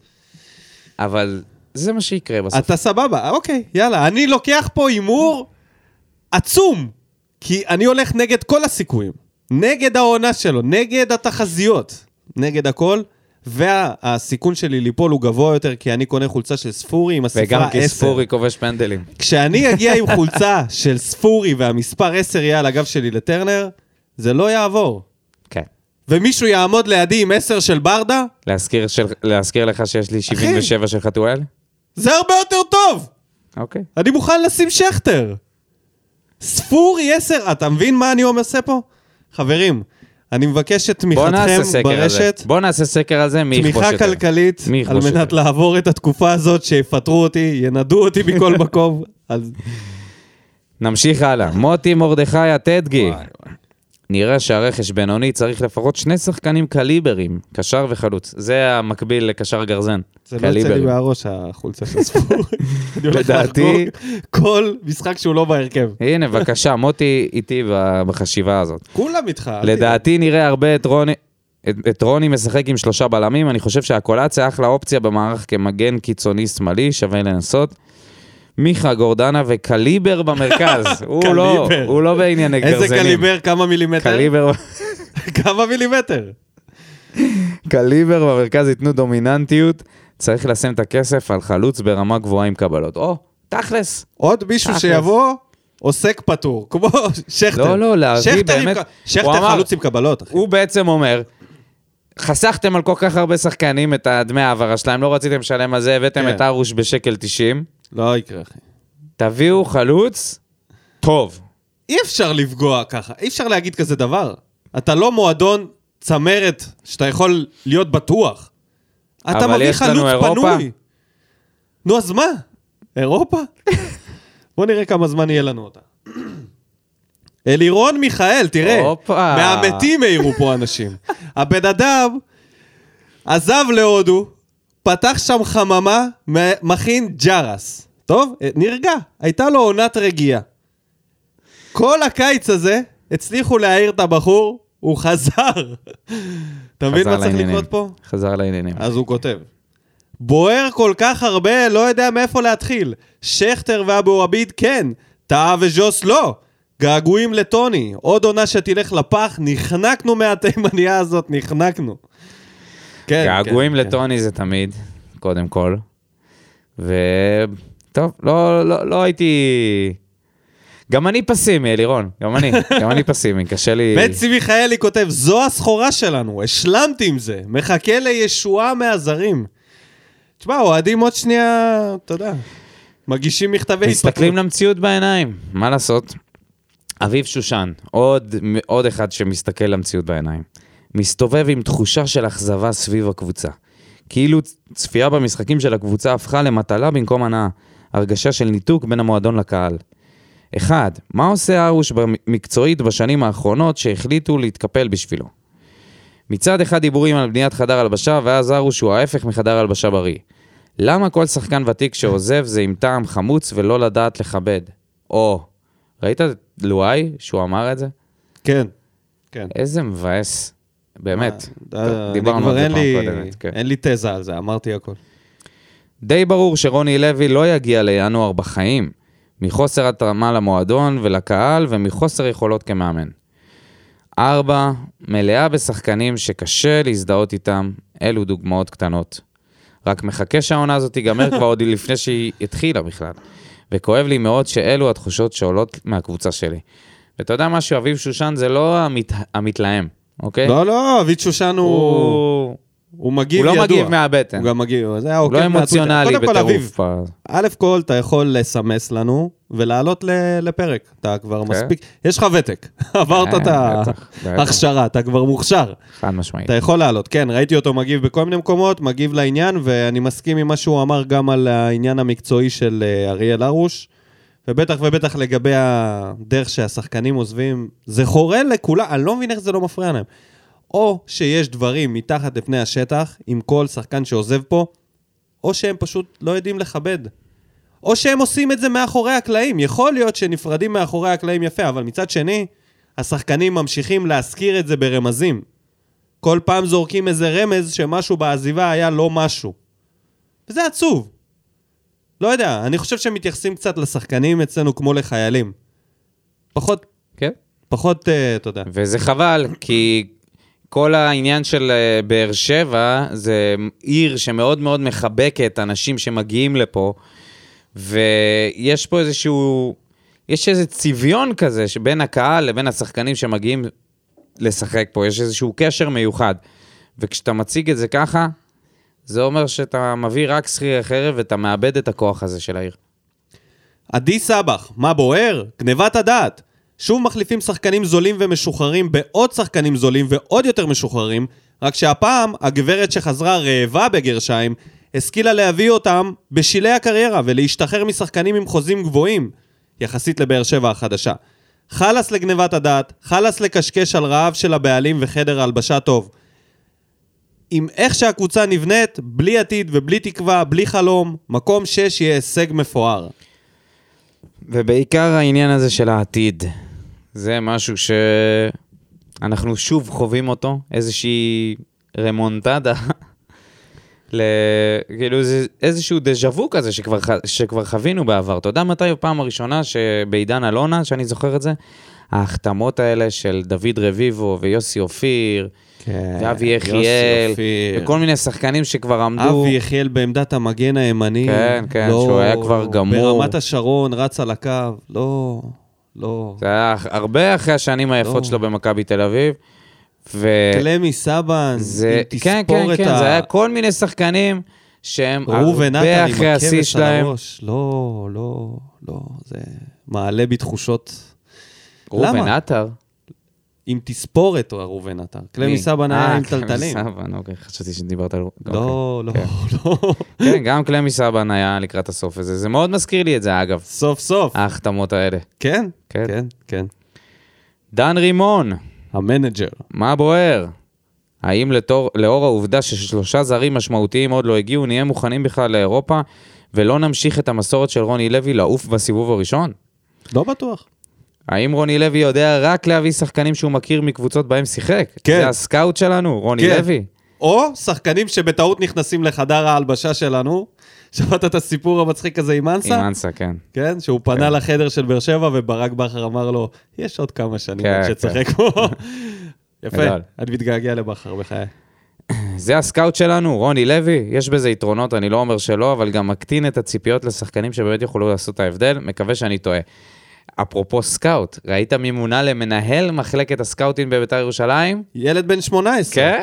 אבל זה מה שיקרה בסוף.
אתה סבבה, אוקיי, יאללה. אני לוקח פה הימור עצום, כי אני הולך נגד כל הסיכויים. נגד העונה שלו, נגד התחזיות, נגד הכל. והסיכון שלי ליפול הוא גבוה יותר, כי אני קונה חולצה של ספורי עם הספרה 10.
וגם כי ספורי כובש פנדלים.
כשאני אגיע עם חולצה של ספורי והמספר 10 יהיה על הגב שלי לטרנר, זה לא יעבור.
כן.
ומישהו יעמוד לידי עם 10 של ברדה,
להזכיר של- להזכיר לך שיש לי 77 של חתואל?
זה הרבה יותר טוב!
אוקיי.
אני מוכן לשים שכטר. ספורי 10, אתה מבין מה אני עושה פה? חברים, אני מבקש את
בוא
תמיכתכם
נעשה סקר על זה.
ברשת.
בוא נעשה סקר על זה, מי יכבוש
תמיכה
יותר.
כלכלית,
מי
על
יכבוש
מנת
יותר?
לעבור את התקופה הזאת, שיפטרו אותי, ינדו אותי מכל מקום. אז לא-
נמשיך הלאה. מוטי מרדכי אטדגי. נראה שהרכש בינוני צריך לפחות שני שחקנים קליברים, קשר וחלוץ. זה המקביל לקשר גרזן.
זה לא יוצא לי
קליברים.
מהראש, החולצה של ספורי. אני הולך
לדעתי-
לחגוג כל משחק שהוא לא בהרכב.
הנה, בבקשה, מוטי איתי ב- בחשיבה הזאת.
כולם איתך. אל תדאג.
לדעתי נראה הרבה את רוני... את, את רוני משחק עם שלושה בלמים, אני חושב שהקולציה אחלה אופציה במערך כמגן קיצוני שמאלי, שווה לנסות. מיכה גורדנה וקליבר במרכז, הוא, לא,
קליבר.
הוא לא בענייני גרזנים.
איזה קליבר, כמה מילימטר?
קליבר,
כמה מילימטר?
קליבר במרכז ייתנו דומיננטיות, צריך לשים את הכסף על חלוץ ברמה גבוהה עם קבלות. או, תכלס.
עוד מישהו
תכלס.
שיבוא, עוסק פטור, כמו שכטר.
לא, לא, להביא
שכטר עם
באמת-
ק-
הוא
שכטר
אמר-
חלוץ עם קבלות, אחי.
הוא בעצם אומר, חסכתם על כל כך הרבה שחקנים את הדמי העברה שלהם, לא רציתם לשלם על זה, הבאתם
כן.
את ארוש בשקל 90.
לא יקרה, אחי.
תביאו חלוץ טוב.
אי אפשר לפגוע ככה, אי אפשר להגיד כזה דבר. אתה לא מועדון צמרת שאתה יכול להיות בטוח. אתה
אבל
מביא
יש לנו
חלוץ
אירופה.
פנוי. נו, אז מה? אירופה? בוא נראה כמה זמן יהיה לנו אותה. אלירון מיכאל, תראה,
הופה.
מהמתים העירו פה אנשים. הבן אדם עזב להודו, פתח שם חממה, מ- מכין ג'רס. טוב, אה, נרגע, הייתה לו עונת רגיעה. כל הקיץ הזה הצליחו להעיר את הבחור, הוא חזר. אתה מבין
חזר
מה צריך
לעניינים.
לקרות פה?
חזר לעניינים.
אז הוא כותב. בוער כל כך הרבה, לא יודע מאיפה להתחיל. שכטר ואבו עביד כן, טאה וז'וס לא. געגועים לטוני, עוד עונה שתלך לפח, נחנקנו מהתימניה הזאת, נחנקנו. כן,
געגועים
כן,
לטוני זה תמיד, קודם כל. וטוב, לא, לא, לא הייתי... גם אני פסימי, אלירון. גם אני, גם אני פסימי, קשה לי...
כן. בנצי מיכאלי כותב, זו הסחורה שלנו, השלמתי עם זה, מחכה לישועה מהזרים. תשמע, אוהדים עוד שנייה, אתה יודע, מגישים מכתבי
מסתכלים למציאות בעיניים, מה לעשות? אביב שושן, עוד, עוד אחד שמסתכל למציאות בעיניים, מסתובב עם תחושה של אכזבה סביב הקבוצה. כאילו צפייה במשחקים של הקבוצה הפכה למטלה במקום הנאה, הרגשה של ניתוק בין המועדון לקהל. אחד, מה עושה ארוש מקצועית בשנים האחרונות שהחליטו להתקפל בשבילו? מצד אחד דיבורים על בניית חדר הלבשה, ואז ארוש הוא ההפך מחדר הלבשה בריא. למה כל שחקן ותיק שעוזב זה עם טעם חמוץ ולא לדעת לכבד? או, ראית את לואי שהוא אמר את זה?
כן. כן.
איזה מבאס. באמת.
אה, אני
דיברנו
כבר
על זה
אין
פעם
לי-
קודמת. כן.
אין לי תזה על זה, אמרתי הכל.
די ברור שרוני לוי לא יגיע לינואר בחיים, מחוסר התרמה למועדון ולקהל ומחוסר יכולות כמאמן. ארבע, מלאה בשחקנים שקשה להזדהות איתם, אלו דוגמאות קטנות. רק מחכה שהעונה הזאת תיגמר כבר עוד לפני שהיא התחילה בכלל. וכואב לי מאוד שאלו התחושות שעולות מהקבוצה שלי. ואתה יודע משהו, אביב שושן זה לא המת... המתלהם, אוקיי?
לא, לא, אביד שושן הוא...
הוא...
הוא מגיב
הוא
ידוע.
לא מגיב מהבטן.
הוא גם מגיב, זה היה
הוא
עוקב
לא
מהטוויטר.
אמוציונלי
קודם כל, אביב,
בטירוף. פה.
א' כל, אתה יכול לסמס לנו ולעלות ל- לפרק. אתה כבר
כן.
מספיק, יש לך ותק. עברת
כן,
את ה-
בטח, בטח.
ההכשרה, אתה כבר מוכשר.
חד משמעית.
אתה יכול לעלות, כן, ראיתי אותו מגיב בכל מיני מקומות, מגיב לעניין, ואני מסכים עם מה שהוא אמר גם על העניין המקצועי של אה, אריאל הרוש, ובטח ובטח לגבי הדרך שהשחקנים עוזבים, זה חורה לכולם, אני לא מבין איך זה לא מפריע להם. או שיש דברים מתחת לפני השטח, עם כל שחקן שעוזב פה, או שהם פשוט לא יודעים לכבד. או שהם עושים את זה מאחורי הקלעים. יכול להיות שנפרדים מאחורי הקלעים יפה, אבל מצד שני, השחקנים ממשיכים להזכיר את זה ברמזים. כל פעם זורקים איזה רמז שמשהו בעזיבה היה לא משהו. וזה עצוב. לא יודע, אני חושב שמתייחסים קצת לשחקנים אצלנו כמו לחיילים. פחות,
כן.
פחות, אה, אתה יודע.
וזה חבל, כי כל העניין של אה, באר שבע זה עיר שמאוד מאוד מחבקת אנשים שמגיעים לפה, ויש פה איזשהו, יש איזה צביון כזה שבין הקהל לבין השחקנים שמגיעים לשחק פה, יש איזשהו קשר מיוחד. וכשאתה מציג את זה ככה, זה אומר שאתה מביא רק שכירי חרב ואתה מאבד את הכוח הזה של העיר.
עדי סבח, מה בוער? גנבת הדעת. שוב מחליפים שחקנים זולים ומשוחררים בעוד שחקנים זולים ועוד יותר משוחררים, רק שהפעם הגברת שחזרה רעבה בגרשיים, השכילה להביא אותם בשלהי הקריירה ולהשתחרר משחקנים עם חוזים גבוהים, יחסית לבאר שבע החדשה. חלאס לגנבת הדעת, חלאס לקשקש על רעב של הבעלים וחדר הלבשה טוב. עם איך שהקבוצה נבנית, בלי עתיד ובלי תקווה, בלי חלום, מקום 6 יהיה הישג מפואר.
ובעיקר העניין הזה של העתיד. זה משהו שאנחנו שוב חווים אותו, איזושהי רמונטדה. ל... כאילו זה איזשהו דז'ה וו כזה שכבר, ח... שכבר חווינו בעבר. אתה יודע מתי הפעם הראשונה שבעידן אלונה, שאני זוכר את זה, ההחתמות האלה של דוד רביבו ויוסי אופיר,
כן,
ואבי
יוסי
יחיאל,
אופיר.
וכל מיני שחקנים שכבר עמדו.
אבי יחיאל בעמדת המגן הימני. לא
כן, כן, שהוא היה כבר גמור.
ברמת השרון, רץ על הקו, לא, לא.
זה היה הרבה אחרי השנים היפות
לא.
שלו במכבי תל אביב. ו...
קלמי סבן,
זה,
אם
כן,
תספור
כן,
את
כן,
ה...
זה היה כל מיני שחקנים שהם
ראובן
הרבה
עטר עם
אחרי השיא
הכבש על
שלהם.
הראש. לא, לא, לא, זה מעלה בי תחושות.
ראובן
למה?
עטר?
אם תספור את ראובן עטר. קלמי
מי?
סבן
אה,
היה עם
קלמי
טלטלים.
סבן, אוקיי, חשבתי שדיברת על... אוקיי.
לא, לא, לא.
כן, גם קלמי סבן היה לקראת הסוף הזה. זה מאוד מזכיר לי את זה, אגב,
סוף סוף.
ההחתמות האלה.
כן,
אה, כן.
כן, כן.
דן רימון,
המנג'ר.
מה בוער? האם לתור, לאור העובדה ששלושה זרים משמעותיים עוד לא הגיעו, נהיה מוכנים בכלל לאירופה ולא נמשיך את המסורת של רוני לוי לעוף בסיבוב הראשון?
לא בטוח.
האם רוני לוי יודע רק להביא שחקנים שהוא מכיר מקבוצות בהם שיחק?
כן.
זה הסקאוט שלנו, רוני
כן.
לוי.
או שחקנים שבטעות נכנסים לחדר ההלבשה שלנו. שמעת את הסיפור המצחיק הזה עם
עם
אנסה?
אנסה, כן.
כן, שהוא פנה לחדר של באר שבע וברק בכר אמר לו, יש עוד כמה שנים
כן,
עד שתשחק פה. יפה,
גדול.
אני מתגעגע לבכר בחיי.
זה הסקאוט שלנו, רוני לוי. יש בזה יתרונות, אני לא אומר שלא, אבל גם מקטין את הציפיות לשחקנים שבאמת יוכלו לעשות את ההבדל. מקווה שאני טועה. אפרופו סקאוט, ראית מי מונה למנהל מחלקת הסקאוטים בביתר ירושלים?
ילד בן 18.
כן?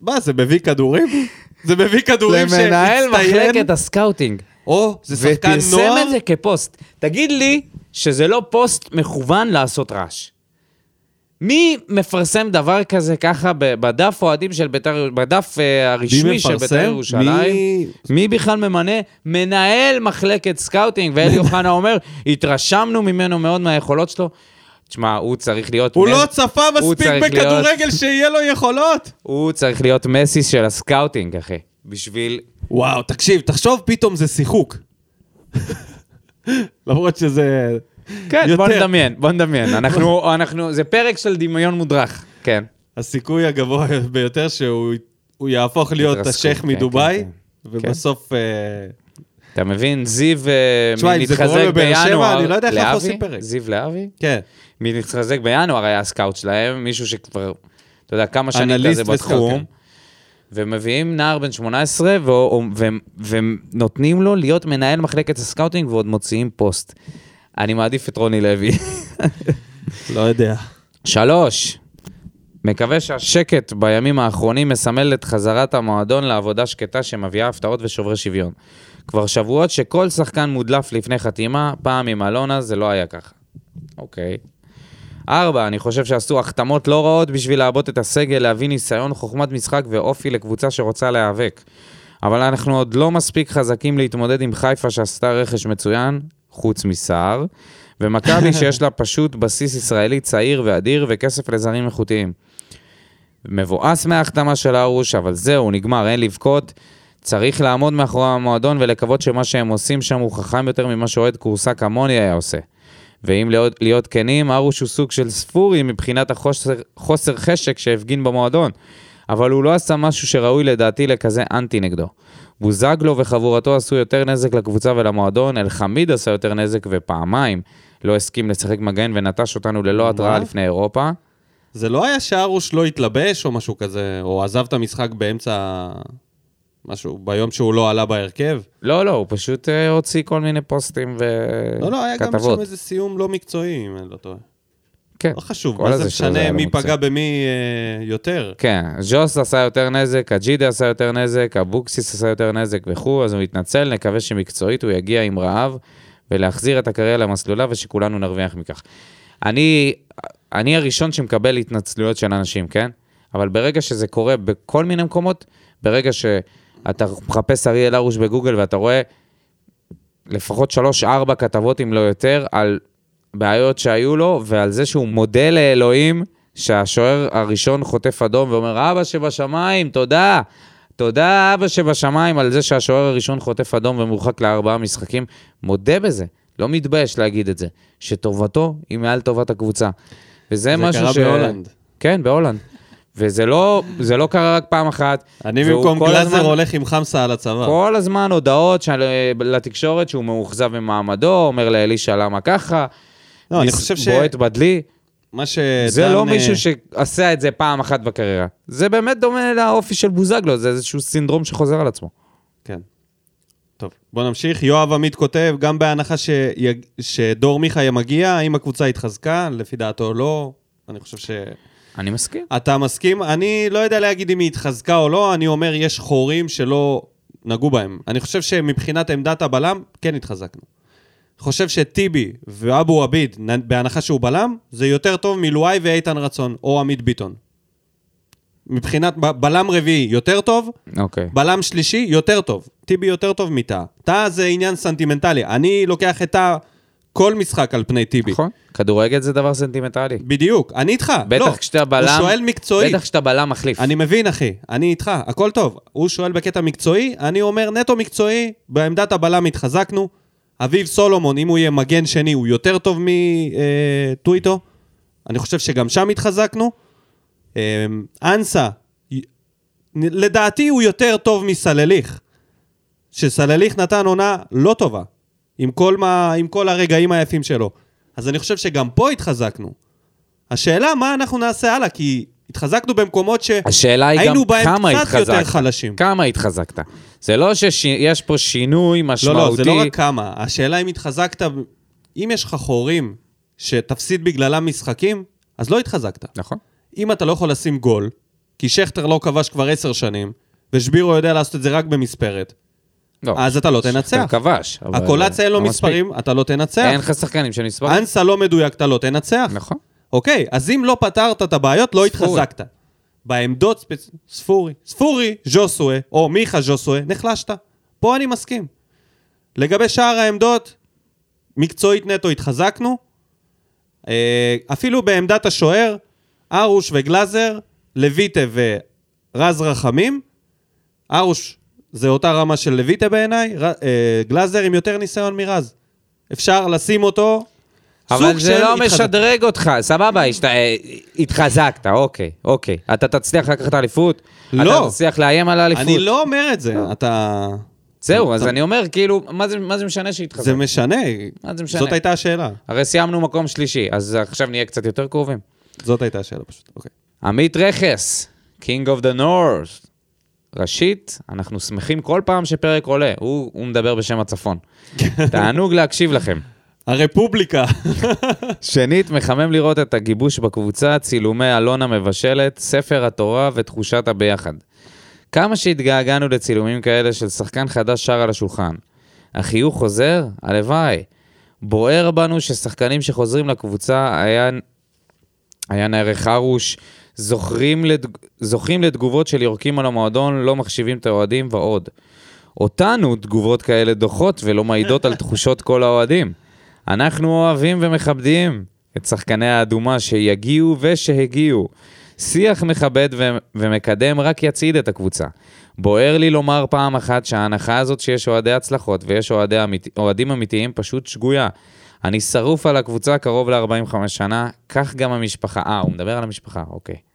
מה, זה מביא כדורים? זה מביא כדורים
למנהל
שהצטיין?
מחלקת הסקאוטינג.
או, זה שחקן
ופרסם
נוער?
את זה כפוסט. תגיד לי שזה לא פוסט מכוון לעשות רעש. מי מפרסם דבר כזה ככה ב- בדף אוהדים של ביתר, בדף אה, הרשמי של ביתר
מפרסם?
ירושלים?
מי-
מי... מי בכלל ממנה? מנהל מחלקת סקאוטינג, ואלי אוחנה אומר, התרשמנו ממנו מאוד מהיכולות שלו. תשמע, הוא צריך להיות...
הוא
מס-
לא צפה
כן. הוא
מספיק
צריך
בכדורגל שיהיה לו יכולות?
הוא צריך להיות מסי של הסקאוטינג, אחי. בשביל...
וואו, תקשיב, תחשוב פתאום זה שיחוק. למרות שזה...
כן, בוא
יותר.
נדמיין, בוא נדמיין. אנחנו, אנחנו, זה פרק של דמיון מודרך. כן.
הסיכוי הגבוה ביותר שהוא הוא יהפוך להיות
התרסקות,
השייח
כן,
מדובאי,
כן,
ובסוף... אה,
אתה מבין? זיו אה,
תשמע, אם זה קורה
מתחזק
בבאר שבע,
בינואר
אני לא יודע איך אנחנו עושים
לאבי,
פרק.
זיו לאבי?
כן.
מי מתחזק בינואר היה הסקאוט שלהם, מישהו שכבר, אתה יודע, כמה שנים
אנליסט
כזה
וסקאוט, כן.
בתחום. ומביאים נער בן 18 ו- ו- ו- ונותנים לו להיות מנהל מחלקת הסקאוטינג ועוד מוציאים פוסט. אני מעדיף את רוני לוי.
לא יודע.
שלוש, מקווה שהשקט בימים האחרונים מסמל את חזרת המועדון לעבודה שקטה שמביאה הפתעות ושוברי שוויון. כבר שבועות שכל שחקן מודלף לפני חתימה, פעם עם אלונה זה לא היה ככה. אוקיי. ארבע, אני חושב שעשו החתמות לא רעות בשביל לעבות את הסגל, להביא ניסיון, חוכמת משחק ואופי לקבוצה שרוצה להיאבק. אבל אנחנו עוד לא מספיק חזקים להתמודד עם חיפה שעשתה רכש מצוין, חוץ מסער, ומכבי שיש לה פשוט בסיס ישראלי צעיר ואדיר וכסף לזרים איכותיים. מבואס מההחתמה של הרוש, אבל זהו, נגמר, אין לבכות. צריך לעמוד מאחורי המועדון ולקוות שמה שהם עושים שם הוא חכם יותר ממה שאוהד כורסה כמוני היה עושה. ואם להיות, להיות כנים, ארוש הוא סוג של ספורי מבחינת החוסר חוסר חשק שהפגין במועדון. אבל הוא לא עשה משהו שראוי לדעתי לכזה אנטי נגדו. בוזגלו וחבורתו עשו יותר נזק לקבוצה ולמועדון, אלחמיד עשה יותר נזק ופעמיים לא הסכים לשחק מגן ונטש אותנו ללא התראה לפני אירופה.
זה לא היה שהרוש לא התלבש או משהו כזה, או עזב את המשחק באמצע... משהו, ביום שהוא לא עלה בהרכב?
לא, לא, הוא פשוט אה, הוציא כל מיני פוסטים וכתבות.
לא, לא, היה גם שם איזה סיום לא מקצועי, אם אני לא טועה.
כן.
לא חשוב,
כל
מה זה
הזה שזה
משנה
היה לא
מי
מוצא.
פגע במי אה, יותר?
כן, ז'וס עשה יותר נזק, אג'ידה עשה יותר נזק, אבוקסיס עשה יותר נזק וכו', אז הוא יתנצל, נקווה שמקצועית הוא יגיע עם רעב ולהחזיר את הקריירה למסלולה ושכולנו נרוויח מכך. אני, אני הראשון שמקבל התנצלויות של אנשים, כן? אבל ברגע שזה קורה בכל מיני מקומות, ברגע שאתה מחפש אריאל הרוש בגוגל ואתה רואה לפחות שלוש-ארבע כתבות, אם לא יותר, על בעיות שהיו לו, ועל זה שהוא מודה לאלוהים שהשוער הראשון חוטף אדום ואומר, אבא שבשמיים, תודה. תודה, אבא שבשמיים, על זה שהשוער הראשון חוטף אדום ומורחק לארבעה משחקים. מודה בזה, לא מתבייש להגיד את זה, שטובתו היא מעל טובת הקבוצה. וזה
זה
משהו
קרה
ש...
בהולנד.
כן, בהולנד. וזה לא, זה לא קרה רק פעם אחת.
אני
והוא
במקום
כל
גלאזר
הזמן-
הולך עם חמסה על הצבא.
כל הזמן הודעות של, אה, לתקשורת שהוא מאוכזב ממעמדו, אומר לאלישע למה ככה,
לא, אני
ניס-
חושב ש...
בועט בדלי.
מה שדן...
זה לא
אה,
מישהו שעשה את זה פעם אחת בקריירה. זה באמת דומה לאופי של בוזגלו, זה איזשהו סינדרום שחוזר על עצמו.
כן. טוב, בוא נמשיך. יואב עמית כותב, גם בהנחה שיג... שדור מיכה מגיע, האם הקבוצה התחזקה? לפי דעתו לא. אני חושב ש...
אני מסכים.
אתה מסכים? אני לא יודע להגיד אם היא התחזקה או לא, אני אומר יש חורים שלא נגעו בהם. אני חושב שמבחינת עמדת הבלם, כן התחזקנו. חושב שטיבי ואבו עביד, נ- בהנחה שהוא בלם, זה יותר טוב מלואי ואיתן רצון, או עמית ביטון. מבחינת ב- בלם רביעי יותר טוב,
אוקיי.
בלם שלישי יותר טוב. טיבי יותר טוב מטאה. טאה זה עניין סנטימנטלי. אני לוקח את טאה כל משחק על פני טיבי.
נכון. כדורגל זה דבר סנטימטרלי.
בדיוק, אני איתך. לא,
בטח כשאתה בלם...
הוא שואל מקצועית.
בטח כשאתה בלם מחליף.
אני מבין, אחי, אני איתך, הכל טוב. הוא שואל בקטע מקצועי, אני אומר נטו מקצועי, בעמדת הבלם התחזקנו. אביב סולומון, אם הוא יהיה מגן שני, הוא יותר טוב מטוויטו. אני חושב שגם שם התחזקנו. אה, אנסה, י- לדעתי הוא יותר טוב מסלליך. שסלליך נתן עונה לא טובה, עם כל, מה, עם כל הרגעים היפים שלו. אז אני חושב שגם פה התחזקנו. השאלה מה אנחנו נעשה הלאה, כי התחזקנו במקומות ש...
השאלה היא
היינו
גם
בהם
כמה
קצת
התחזקת.
יותר חלשים.
כמה התחזקת. זה לא שיש פה שינוי
לא,
משמעותי.
לא, זה לא רק כמה. השאלה אם התחזקת, אם יש לך חורים שתפסיד בגללם משחקים, אז לא התחזקת.
נכון.
אם אתה לא יכול לשים גול, כי שכטר לא כבש כבר עשר שנים, ושבירו יודע לעשות את זה רק במספרת,
לא.
אז אתה לא
שחקן
תנצח.
כבש. אבל-
הקולציה אין לו
לא מספיק.
מספרים, אתה לא תנצח.
אין לך שחקנים של מספרים.
אנסה לא מדויק, אתה לא תנצח.
נכון.
אוקיי, אז אם לא פתרת את הבעיות, לא התחזקת. בעמדות ספצ... ספורי, ספורי ז'וסואה, או מיכה ז'וסואה, נחלשת. פה אני מסכים. לגבי שאר העמדות, מקצועית נטו התחזקנו. אה, אפילו בעמדת השוער, ארוש וגלאזר, לויטה ורז רחמים. ארוש זה אותה רמה של לויטה בעיניי, ר- אה, גלאזר עם יותר ניסיון מרז. אפשר לשים אותו...
אבל
סוג
זה
של
לא
התחזק-
משדרג אותך, סבבה, השת- אה, התחזקת, אוקיי, אוקיי. אתה תצליח לקחת אליפות?
לא.
אתה תצליח לאיים על האליפות?
אני לא אומר את זה, אתה...
זהו, אז אני אומר, כאילו, מה זה- מה זה משנה שהתחזקת?
זה משנה.
מה זה משנה?
זאת הייתה השאלה.
הרי סיימנו מקום שלישי, אז עכשיו נהיה קצת יותר קרובים.
זאת הייתה השאלה פשוט, אוקיי.
עמית רכס, King of the North. ראשית, אנחנו שמחים כל פעם שפרק עולה, הוא, הוא מדבר בשם הצפון. תענוג להקשיב לכם.
הרפובליקה.
שנית, מחמם לראות את הגיבוש בקבוצה, צילומי אלונה מבשלת, ספר התורה ותחושת הביחד. כמה שהתגעגענו לצילומים כאלה של שחקן חדש שר על השולחן. החיוך חוזר? הלוואי. בוער בנו ששחקנים שחוזרים לקבוצה, היה, היה נערך חרוש, זוכרים, לת... זוכים לתגובות של יורקים על המועדון, לא מחשיבים את האוהדים ועוד. אותנו תגובות כאלה דוחות ולא מעידות על תחושות כל האוהדים. אנחנו אוהבים ומכבדים את שחקני האדומה שיגיעו ושהגיעו. שיח מכבד ו- ומקדם רק יצעיד את הקבוצה. בוער לי לומר פעם אחת שההנחה הזאת שיש אוהדי הצלחות ויש אוהדי אמית... אוהדים אמיתיים פשוט שגויה. אני שרוף על הקבוצה קרוב ל-45 שנה, כך גם המשפחה. אה, הוא מדבר על המשפחה, אוקיי.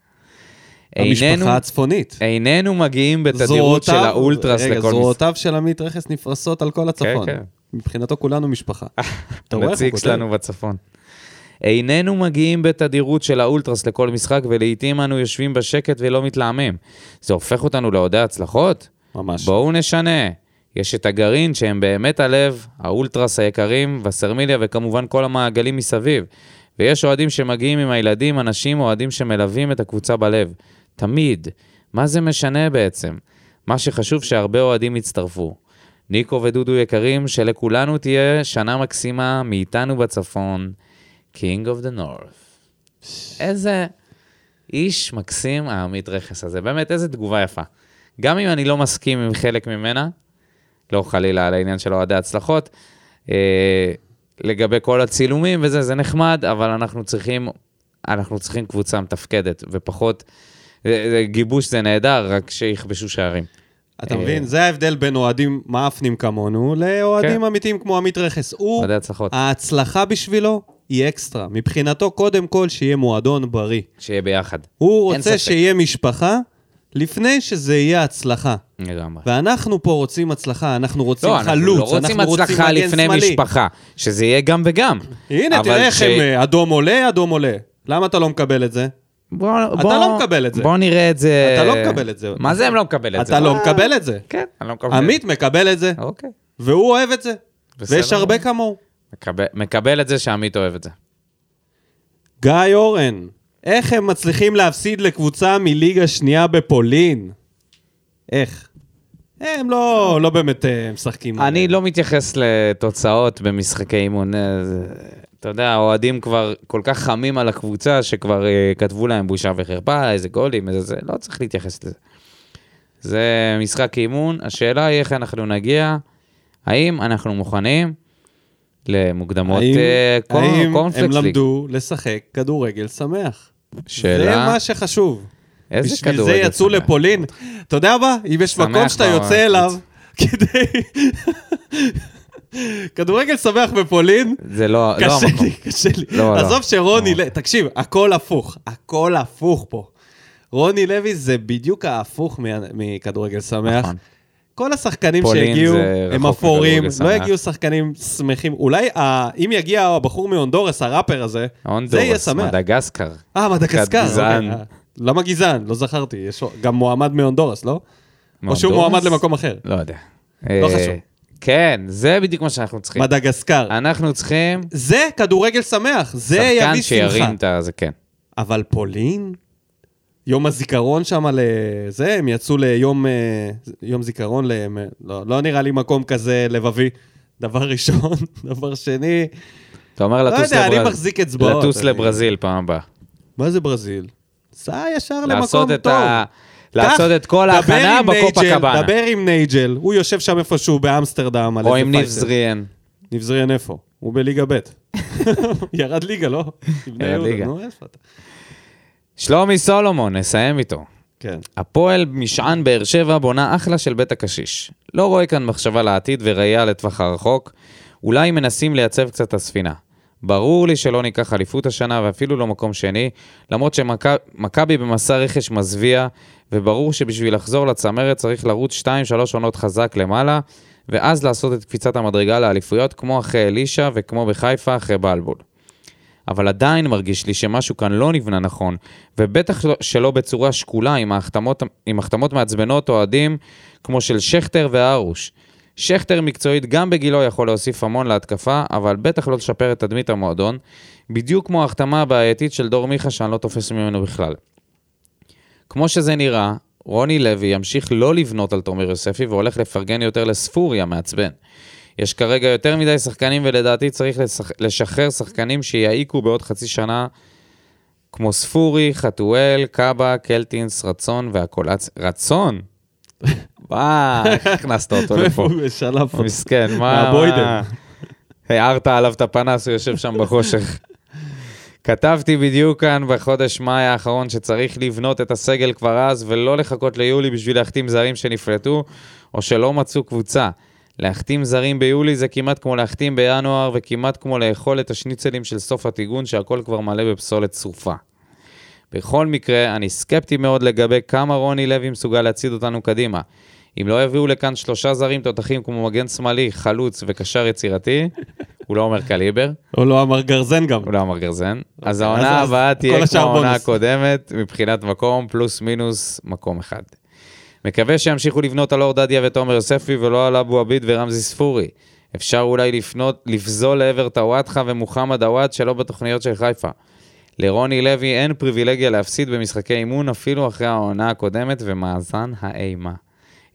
איננו-
המשפחה הצפונית.
איננו מגיעים בתדירות של
זרועותיו-
האולטרס
רגע,
לכל
זרועותיו של עמית רכס נפרסות על כל הצפון.
כן.
מבחינתו כולנו משפחה. אתה רואה איך הוא
נציג
כותב?
שלנו בצפון. איננו מגיעים בתדירות של האולטרס לכל משחק, ולעיתים אנו יושבים בשקט ולא מתלהמים. זה הופך אותנו לאוהדי הצלחות?
ממש.
בואו נשנה. יש את הגרעין שהם באמת הלב, האולטרס היקרים, וסרמיליה וכמובן כל המעגלים מסביב. ויש אוהדים שמגיעים עם הילדים, אנשים, אוהדים שמלווים את הקבוצה בלב. תמיד. מה זה משנה בעצם? מה שחשוב שהרבה אוהדים יצטרפו. ניקו ודודו יקרים, שלכולנו תהיה שנה מקסימה מאיתנו בצפון, King of the North. איזה איש מקסים העמית רכס הזה, באמת, איזה תגובה יפה. גם אם אני לא מסכים עם חלק ממנה, לא חלילה על העניין של אוהדי הצלחות, אה, לגבי כל הצילומים וזה, זה נחמד, אבל אנחנו צריכים, אנחנו צריכים קבוצה מתפקדת, ופחות, זה- זה- גיבוש זה נהדר, רק שיכבשו שערים.
אתה
אה,
מבין? זה ההבדל בין אוהדים מאפנים כמונו לאוהדים
כן.
אמיתיים כמו עמית רכס. הוא,
אוהדי הצלחות,
ההצלחה בשבילו היא אקסטרה. מבחינתו, קודם כל, שיהיה מועדון בריא.
שיהיה ביחד.
הוא
אין
רוצה
ספק.
שיהיה משפחה לפני שזה יהיה הצלחה.
לגמרי.
ואנחנו פה רוצים הצלחה, אנחנו רוצים
לא, אנחנו לא
חלוץ,
רוצים
אנחנו רוצים
הצלחה
מגן
לפני
שמאלי.
משפחה, שזה יהיה גם וגם.
הנה,
אבל
תראה איך
ש-
הם, אה, אדום עולה, אדום עולה. למה אתה לא מקבל את זה?
בוא,
אתה
בוא-
לא מקבל את זה.
בוא נראה את זה.
אתה לא מקבל את זה.
מה זה הם לא מקבל את זה?
אתה לא
מה?
מקבל את זה.
כן, אני לא מקבל.
עמית מקבל את זה,
אוקיי.
והוא אוהב את זה.
בסדר.
ויש הרבה כמוהו.
מקבל- מקבל את זה שעמית אוהב את זה.
גיא אורן, איך הם מצליחים להפסיד לקבוצה מליגה שנייה בפולין? איך? הם לא, לא באמת אה, משחקים.
אני לא מתייחס לתוצאות במשחקי אימון. אה, זה- אתה יודע, האוהדים כבר כל כך חמים על הקבוצה, שכבר אה, כתבו להם בושה וחרפה, איזה גולים, איזה זה, לא צריך להתייחס לזה. זה משחק אימון, השאלה היא איך אנחנו נגיע, האם אנחנו מוכנים למוקדמות
האם,
אה, קור-
האם הם
קורנפלקס ליג.
למדו לשחק כדורגל שמח? זה
שאלה,
מה שחשוב.
איזה
בשביל זה
כדורגל
יצאו
שמח.
לפולין. אתה יודע מה? אם יש
שמח
מקום שאתה
מאוד.
יוצא אליו, כדי... כדורגל שמח בפולין,
זה לא, לא
קשה
המקום.
לי, קשה לי.
לא, לא.
עזוב שרוני, ל- תקשיב, הכל הפוך, הכל הפוך פה. רוני לוי זה בדיוק ההפוך מה- מכדורגל שמח.
נכון.
כל השחקנים
פולין
שהגיעו,
זה
הם
רחוק
אפורים,
מכדורגל
לא
שמח.
יגיעו שחקנים שמחים. אולי ה- אם יגיע הבחור מהונדורס, הראפר הזה, זה יהיה
הונדורס,
שמח.
מדגסקר.
אה, מדגסקר.
גזען.
אוקיי. למה גזען? לא זכרתי. יש גם מועמד מהונדורס, לא? או שהוא
מהונדורס?
מועמד למקום אחר.
לא יודע.
לא
אה,
חשוב.
כן, זה בדיוק מה שאנחנו צריכים.
מדגסקר.
אנחנו צריכים
זה כדורגל שמח, זה
אה. שחקן
יביא שמחה.
שירים את ה... זה כן.
אבל פולין? יום הזיכרון שם לזה, הם יצאו ליום אה, יום זיכרון, להם, אה, לא, לא נראה לי מקום כזה לבבי, דבר ראשון. דבר שני,
אתה אומר לטוס
יודע, אני
לברז-
מחזיק אצבעות,
לטוס
אני-
לברזיל פעם הבאה.
מה זה ברזיל? סע ישר למקום
לעשות את
טוב.
ה... לעשות
קח,
את כל
דבר
ההכנה
עם
בקופה
נייג'ל,
קבאנה.
דבר עם נייג'ל, הוא יושב שם איפשהו באמסטרדם. על
או
איזה
עם ניב
פייטר.
זריאן.
נבזריאן איפה? הוא בליגה ב'. ירד ליגה, לא?
ירד
ירד
ליגה.
ליגה. נו, איפה אתה?
שלומי סולומון, נסיים איתו.
כן.
הפועל משען באר שבע בונה אחלה של בית הקשיש. לא רואה כאן מחשבה לעתיד וראייה לטווח הרחוק. אולי מנסים לייצב קצת את הספינה. ברור לי שלא ניקח אליפות השנה ואפילו לא מקום שני, למרות שמכבי במסע רכש מזוויע, וברור שבשביל לחזור לצמרת צריך לרוץ 2-3 עונות חזק למעלה, ואז לעשות את קפיצת המדרגה לאליפויות כמו אחרי אלישע וכמו בחיפה אחרי בלבול. אבל עדיין מרגיש לי שמשהו כאן לא נבנה נכון, ובטח לא- שלא בצורה שקולה עם החתמות, עם החתמות מעצבנות אוהדים כמו של שכטר והרוש. שכטר מקצועית גם בגילו יכול להוסיף המון להתקפה, אבל בטח לא לשפר את תדמית המועדון, בדיוק כמו ההחתמה הבעייתית של דור מיכה שאני לא תופס ממנו בכלל. כמו שזה נראה, רוני לוי ימשיך לא לבנות על תומר יוספי והולך לפרגן יותר לספורי המעצבן. יש כרגע יותר מדי שחקנים ולדעתי צריך לשח... לשחרר שחקנים שיעיקו בעוד חצי שנה כמו ספורי, חתואל, קאבה, קלטינס, רצון והקולצ... רצון? וואי, איך הכנסת אותו לפה.
הוא שלף אותו.
מסכן, מה...
מהבוידן.
מה- הערת עליו את הפנס, הוא יושב שם בחושך. כתבתי בדיוק כאן בחודש מאי האחרון שצריך לבנות את הסגל כבר אז, ולא לחכות ליולי בשביל להחתים זרים שנפלטו, או שלא מצאו קבוצה. להחתים זרים ביולי זה כמעט כמו להחתים בינואר, וכמעט כמו לאכול את השניצלים של סוף הטיגון, שהכל כבר מלא בפסולת צרופה. בכל מקרה, אני סקפטי מאוד לגבי כמה רוני לוי מסוגל להצעיד אותנו קדימה. אם לא יביאו לכאן שלושה זרים תותחים כמו מגן שמאלי, חלוץ וקשר יצירתי, הוא לא אומר קליבר,
הוא לא אמר גרזן גם.
הוא לא אמר גרזן, אז
אוקיי,
העונה
אז-
הבאה
אז כל
תהיה כמו
השאר
העונה
בונוס.
הקודמת, מבחינת מקום, פלוס מינוס מקום אחד. מקווה שימשיכו לבנות על אור דדיה ותומר יוספי ולא על אבו עביד ורמזי ספורי. אפשר אולי לפנות, לפזול לעבר טוואטחה ומוחמד עוואד שלא בתוכניות של חיפה. לרוני לוי אין פריבילגיה להפסיד במשחקי אימון אפילו אחרי העונה הקודמת ומאזן האימה.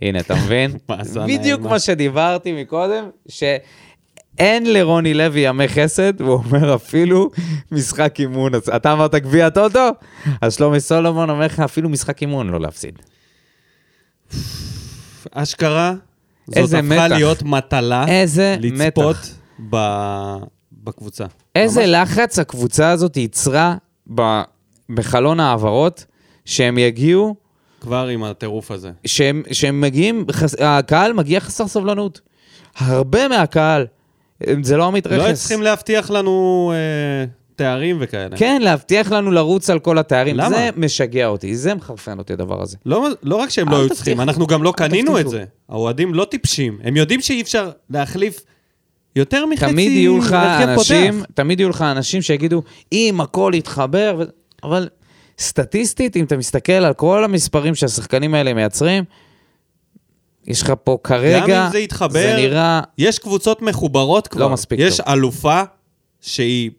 הנה, אתה מבין?
מאזן
בדיוק
האימה.
מה שדיברתי מקודם, שאין לרוני לוי ימי חסד, והוא אומר אפילו משחק אימון. אז אתה אמרת גביע הטוטו? אז שלומי סולומון אומר לך אפילו משחק אימון לא להפסיד.
אשכרה, זאת
איזה
הפכה
מתח.
להיות מטלה.
איזה
לצפות
מתח.
ב- בקבוצה.
איזה לחץ הקבוצה הזאת ייצרה ב- בחלון ההעברות, שהם יגיעו,
כבר עם הטירוף הזה.
שהם, שהם מגיעים, חס, הקהל מגיע חסר סבלנות. הרבה מהקהל, זה לא עמית רכס.
לא היו צריכים להבטיח לנו אה, תארים וכאלה.
כן, להבטיח לנו לרוץ על כל התארים.
למה?
זה משגע אותי, זה מחרפן אותי הדבר הזה.
לא, לא רק שהם
אל
לא היו
תבטיחו,
צריכים, אנחנו גם לא קנינו את
תבטיחו.
זה. האוהדים לא טיפשים. הם יודעים שאי אפשר להחליף יותר מחצי...
תמיד יהיו לך
הרכב פותח.
אנשים, תמיד יהיו לך אנשים שיגידו, אם הכל יתחבר, ו- אבל סטטיסטית, אם אתה מסתכל על כל המספרים שהשחקנים האלה מייצרים, יש לך פה כרגע,
גם אם זה יתחבר,
זה נראה,
יש קבוצות מחוברות כבר.
לא מספיק
יש
טוב.
אלופה שהיא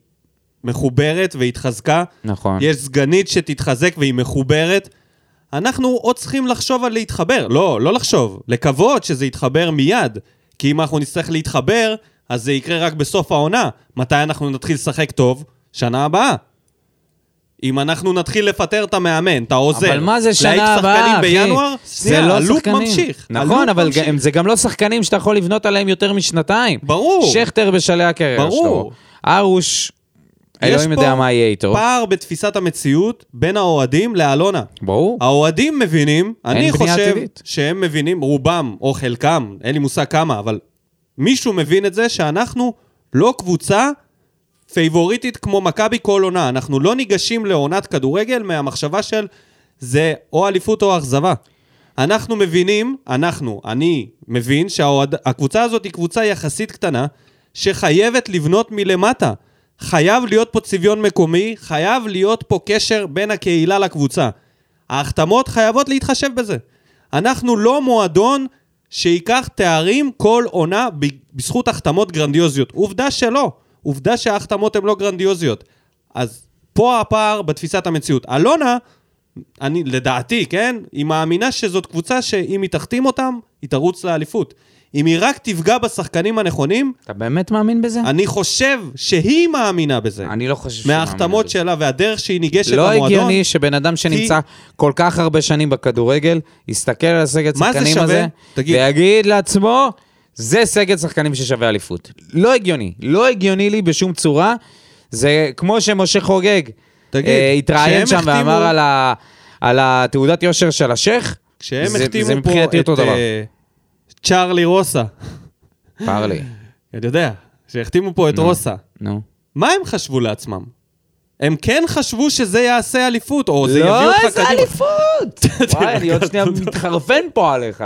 מחוברת והתחזקה.
נכון.
יש סגנית שתתחזק והיא מחוברת. אנחנו עוד צריכים לחשוב על להתחבר. לא, לא לחשוב, לקוות שזה יתחבר מיד. כי אם אנחנו נצטרך להתחבר, אז זה יקרה רק בסוף העונה. מתי אנחנו נתחיל לשחק טוב? שנה הבאה. אם אנחנו נתחיל לפטר את המאמן, את העוזר,
אבל מה זה שנה
להעיף
הבאה,
שחקנים
אחי? לא
בינואר, שנייה, הלופ ממשיך. הלופ
נכון, אבל
ממשיך.
גם- זה גם לא שחקנים שאתה יכול לבנות עליהם יותר משנתיים.
ברור.
שכטר בשלהי הקריירה שלו.
ברור.
ארוש, אלוהים יודע מה יהיה איתו.
יש פה פער בתפיסת המציאות בין האוהדים לאלונה.
ברור.
האוהדים מבינים, אני
בנייה
חושב
עתידית.
שהם מבינים, רובם או חלקם, אין לי מושג כמה, אבל מישהו מבין את זה שאנחנו לא קבוצה פייבוריטית כמו מכבי כל עונה. אנחנו לא ניגשים לעונת כדורגל מהמחשבה של זה או אליפות או אכזבה. אנחנו מבינים, אנחנו, אני מבין שהקבוצה הזאת היא קבוצה יחסית קטנה, שחייבת לבנות מלמטה. חייב להיות פה צביון מקומי, חייב להיות פה קשר בין הקהילה לקבוצה. ההחתמות חייבות להתחשב בזה. אנחנו לא מועדון שייקח תארים כל עונה ב- בזכות החתמות גרנדיוזיות. עובדה שלא. עובדה שההחתמות הן לא גרנדיוזיות. אז פה הפער בתפיסת המציאות. אלונה, אני, לדעתי, כן? היא מאמינה שזאת קבוצה שאם היא תחתים אותם, היא תרוץ לאליפות. אם היא רק תפגע בשחקנים הנכונים,
אתה באמת מאמין בזה?
אני חושב שהיא מאמינה בזה.
אני לא חושב שהוא מאמין
מההחתמות
בזה.
שלה והדרך שהיא ניגשת
לא
למועדון.
הגיוני שבן אדם שנמצא כל כך הרבה שנים בכדורגל, יסתכל על הסגל
מה זה
שחקנים
שווה?
הזה,
תגיד.
ויגיד לעצמו, זה סגל שחקנים ששווה אליפות. לא הגיוני. לא הגיוני לי בשום צורה. זה כמו שמשה חוגג
תגיד,
אה, התראיין שם
כשהם החתימו-
ואמר על, ה, על התעודת יושר של השייח,
כשהם
זה- זה
החתימו פה
מבחינתי
את
אותו דבר.
אה, צ'ארלי רוסה,
פער לי.
אני יודע, שהחתימו פה את
Mm.
רוסה,
נו.
מה הם חשבו לעצמם? הם כן חשבו שזה יעשה אליפות, או זה יביא
לא,
אותך
איזה
קדימה.
אליפות! וואי, אני עוד שנייה מתחרפן פה עליך.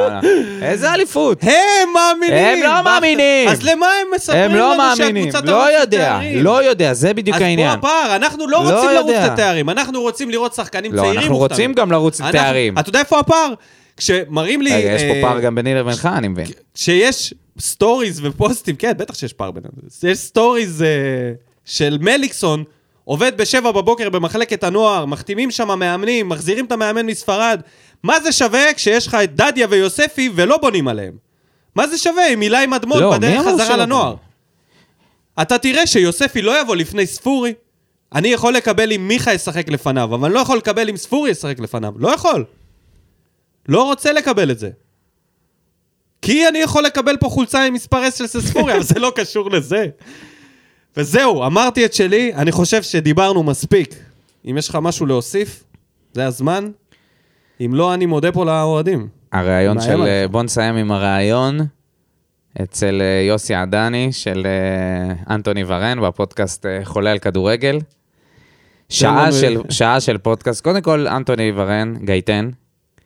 איזה אליפות!
הם מאמינים!
הם לא
מה-
מאמינים!
אז למה הם מספרים
הם לא
לנו
מאמינים,
שהקבוצה תרוץ
לא יודע,
לתארים?
לא יודע, זה בדיוק העניין.
אז פה הפער, אנחנו לא
לא
רוצים לרוץ
יודע.
לתארים, אנחנו רוצים לראות שחקנים
לא,
צעירים.
אנחנו
מוכתרים.
רוצים גם לרוץ
אנחנו-
לתארים.
אתה יודע איפה הפער? כשמראים לי...
רגע, יש פה
אה, כן.
פער גם ביני לבינך, אני מבין.
שיש סטוריז ופוסטים, כן, בטח שיש פער ביניהם. יש סטוריז אה, של מליקסון, עובד בשבע בבוקר במחלקת הנוער, מחתימים שם מאמנים, מחזירים את המאמן מספרד. מה זה שווה כשיש לך את דדיה ויוספי ולא בונים עליהם? מה זה שווה עם הילה עם אדמון
לא, מי
בדרך
אמר
חזרה
שלא
לנוער?
בונים?
אתה תראה שיוספי לא יבוא לפני ספורי. אני יכול לקבל אם מיכה ישחק לפניו, אבל אני לא יכול לקבל אם ספורי ישחק לפניו. לא יכול. לא רוצה לקבל את זה. כי אני יכול לקבל פה חולצה עם מספר 10 של ספורי, אבל זה לא קשור לזה. וזהו, אמרתי את שלי, אני חושב שדיברנו מספיק. אם יש לך משהו להוסיף, זה הזמן. אם לא, אני מודה פה לאוהדים.
הריאיון
מאיים
של...
עליך.
אה, בוא נסיים עם הריאיון אצל אה, יוסי עדני של אה, אנטוני ורן בפודקאסט אה, חולה על כדורגל. שעה
לנו-
של, שעה של פודקאסט. קודם כל, אנטוני ורן, גייטן,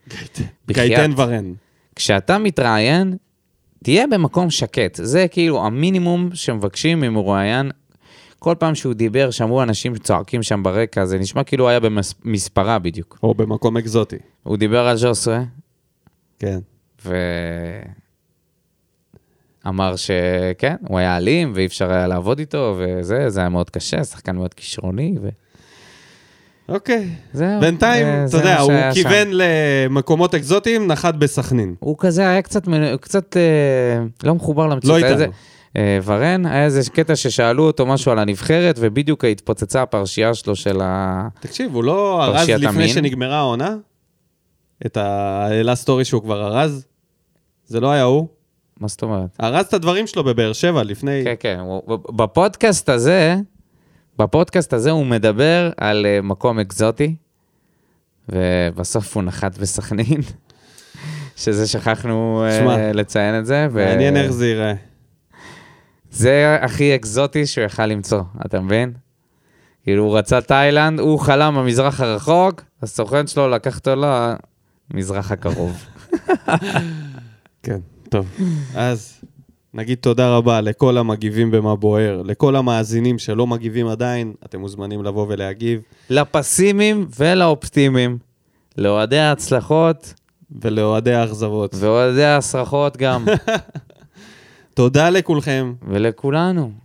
בחייאת.
גייטן ורן.
כשאתה מתראיין, תהיה במקום שקט. זה כאילו המינימום שמבקשים ממרואיין. כל פעם שהוא דיבר, שמעו אנשים צועקים שם ברקע, זה נשמע כאילו הוא היה במספרה בדיוק.
או במקום אקזוטי.
הוא דיבר על ז'וסווה,
כן.
ואמר שכן, הוא היה אלים, ואי אפשר היה לעבוד איתו, וזה, זה היה מאוד קשה, שחקן מאוד כישרוני,
אוקיי.
וזהו.
בינתיים,
זה-
אתה
אה, זה
יודע,
מה
הוא
שהיה שם.
כיוון למקומות אקזוטיים, נחת בסכנין.
הוא כזה היה קצת, מנ- קצת אה, לא מחובר למציאות.
לא
היה
איתנו.
איזה- אה, ורן, היה איזה קטע ששאלו אותו משהו על הנבחרת, ובדיוק התפוצצה הפרשייה שלו של ה...
תקשיב, הוא לא ארז
פרשיית
לפני
המין.
שנגמרה העונה? את האלה סטורי שהוא כבר ארז? זה לא היה הוא.
מה זאת אומרת?
ארז את הדברים שלו בבאר שבע לפני...
כן, כן, הוא- בפודקאסט הזה, בפודקאסט הזה הוא מדבר על אה, מקום אקזוטי, ובסוף הוא נחת בסכנין, שזה שכחנו אה,
שמע,
לציין את זה. ו-
מעניין איך זה ייראה.
זה הכי אקזוטי שהוא יכל למצוא, אתה מבין? כאילו, הוא רצה תאילנד, הוא חלם במזרח הרחוק, הסוכן שלו לקח אותו למזרח הקרוב.
כן, טוב. אז נגיד תודה רבה לכל המגיבים במה בוער, לכל המאזינים שלא מגיבים עדיין, אתם מוזמנים לבוא ולהגיב,
לפסימיים ולאופטימיים, לאוהדי ההצלחות
ולאוהדי האכזבות.
ואוהדי ההסרחות גם,
תודה לכולכם,
ולכולנו.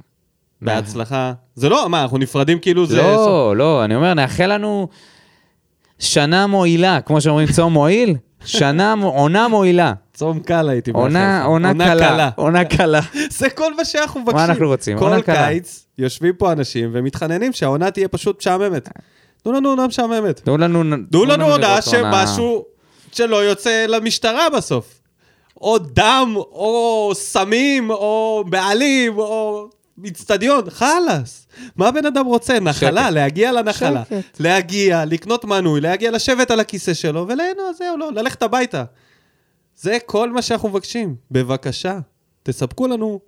בהצלחה. זה לא, מה, אנחנו נפרדים כאילו זה... סוף-
לא, לא, אני אומר, נאחל לנו שנה מועילה, כמו שאומרים צום מועיל, שנה, מ- עונה מועילה.
צום קל הייתי
עונה, עונה קלה, עונה קלה.
זה כל מה שאנחנו מבקשים.
אנחנו רוצים?
כל
עונה קלה.
קיץ יושבים פה אנשים ומתחננים שהעונה תהיה פשוט משעממת.
אה.
תנו לנו עונה משעממת.
תנו לנו...
תנו לנו הודעה
לראות עונה.
שמשהו שלא יוצא למשטרה בסוף. או דם, או סמים, או בעלים, או איצטדיון, חלאס. מה הבן אדם רוצה? נחלה,
שקט.
להגיע לנחלה.
שקט.
להגיע, לקנות מנוי, להגיע לשבת על הכיסא שלו, וליהנות, זהו, לא, ללכת הביתה. זה כל מה שאנחנו מבקשים. בבקשה, תספקו לנו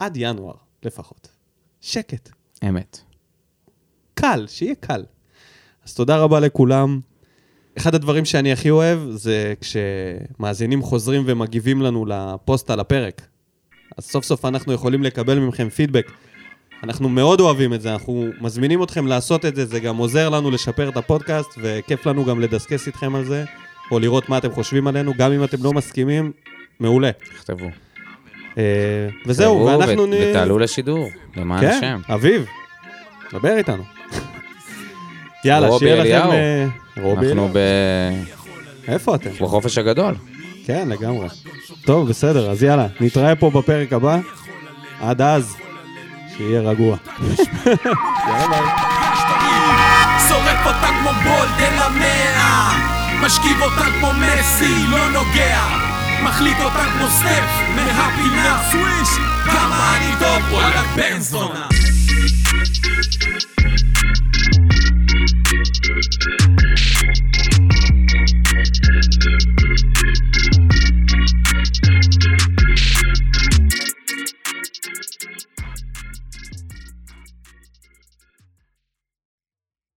עד ינואר לפחות. שקט.
אמת.
קל, שיהיה קל. אז תודה רבה לכולם. אחד הדברים שאני הכי אוהב זה כשמאזינים חוזרים ומגיבים לנו לפוסט על הפרק. אז סוף סוף אנחנו יכולים לקבל מכם פידבק. אנחנו מאוד אוהבים את זה, אנחנו מזמינים אתכם לעשות את זה, זה גם עוזר לנו לשפר את הפודקאסט, וכיף לנו גם לדסקס איתכם על זה, או לראות מה אתם חושבים עלינו, גם אם אתם לא מסכימים, מעולה.
תכתבו.
אה, וזהו,
תכתבו
ואנחנו...
ו-
נ-
ותעלו לשידור, למען
כן,
השם.
אביב, דבר איתנו. יאללה,
רובי
שיהיה לכם...
אליהו.
אה, רובי
אנחנו
אליהו.
ב-
איפה אתם?
בחופש הגדול.
כן, לגמרי. טוב, בסדר, אז יאללה, נתראה פה בפרק הבא. עד אז, שיהיה רגוע.
שורף אותה כמו בולדן המאה משכיב אותה כמו מסי, לא נוגע מחליט אותה כמו סטף מהפינה סוויש כמה אני טוב, וואלה בן זונה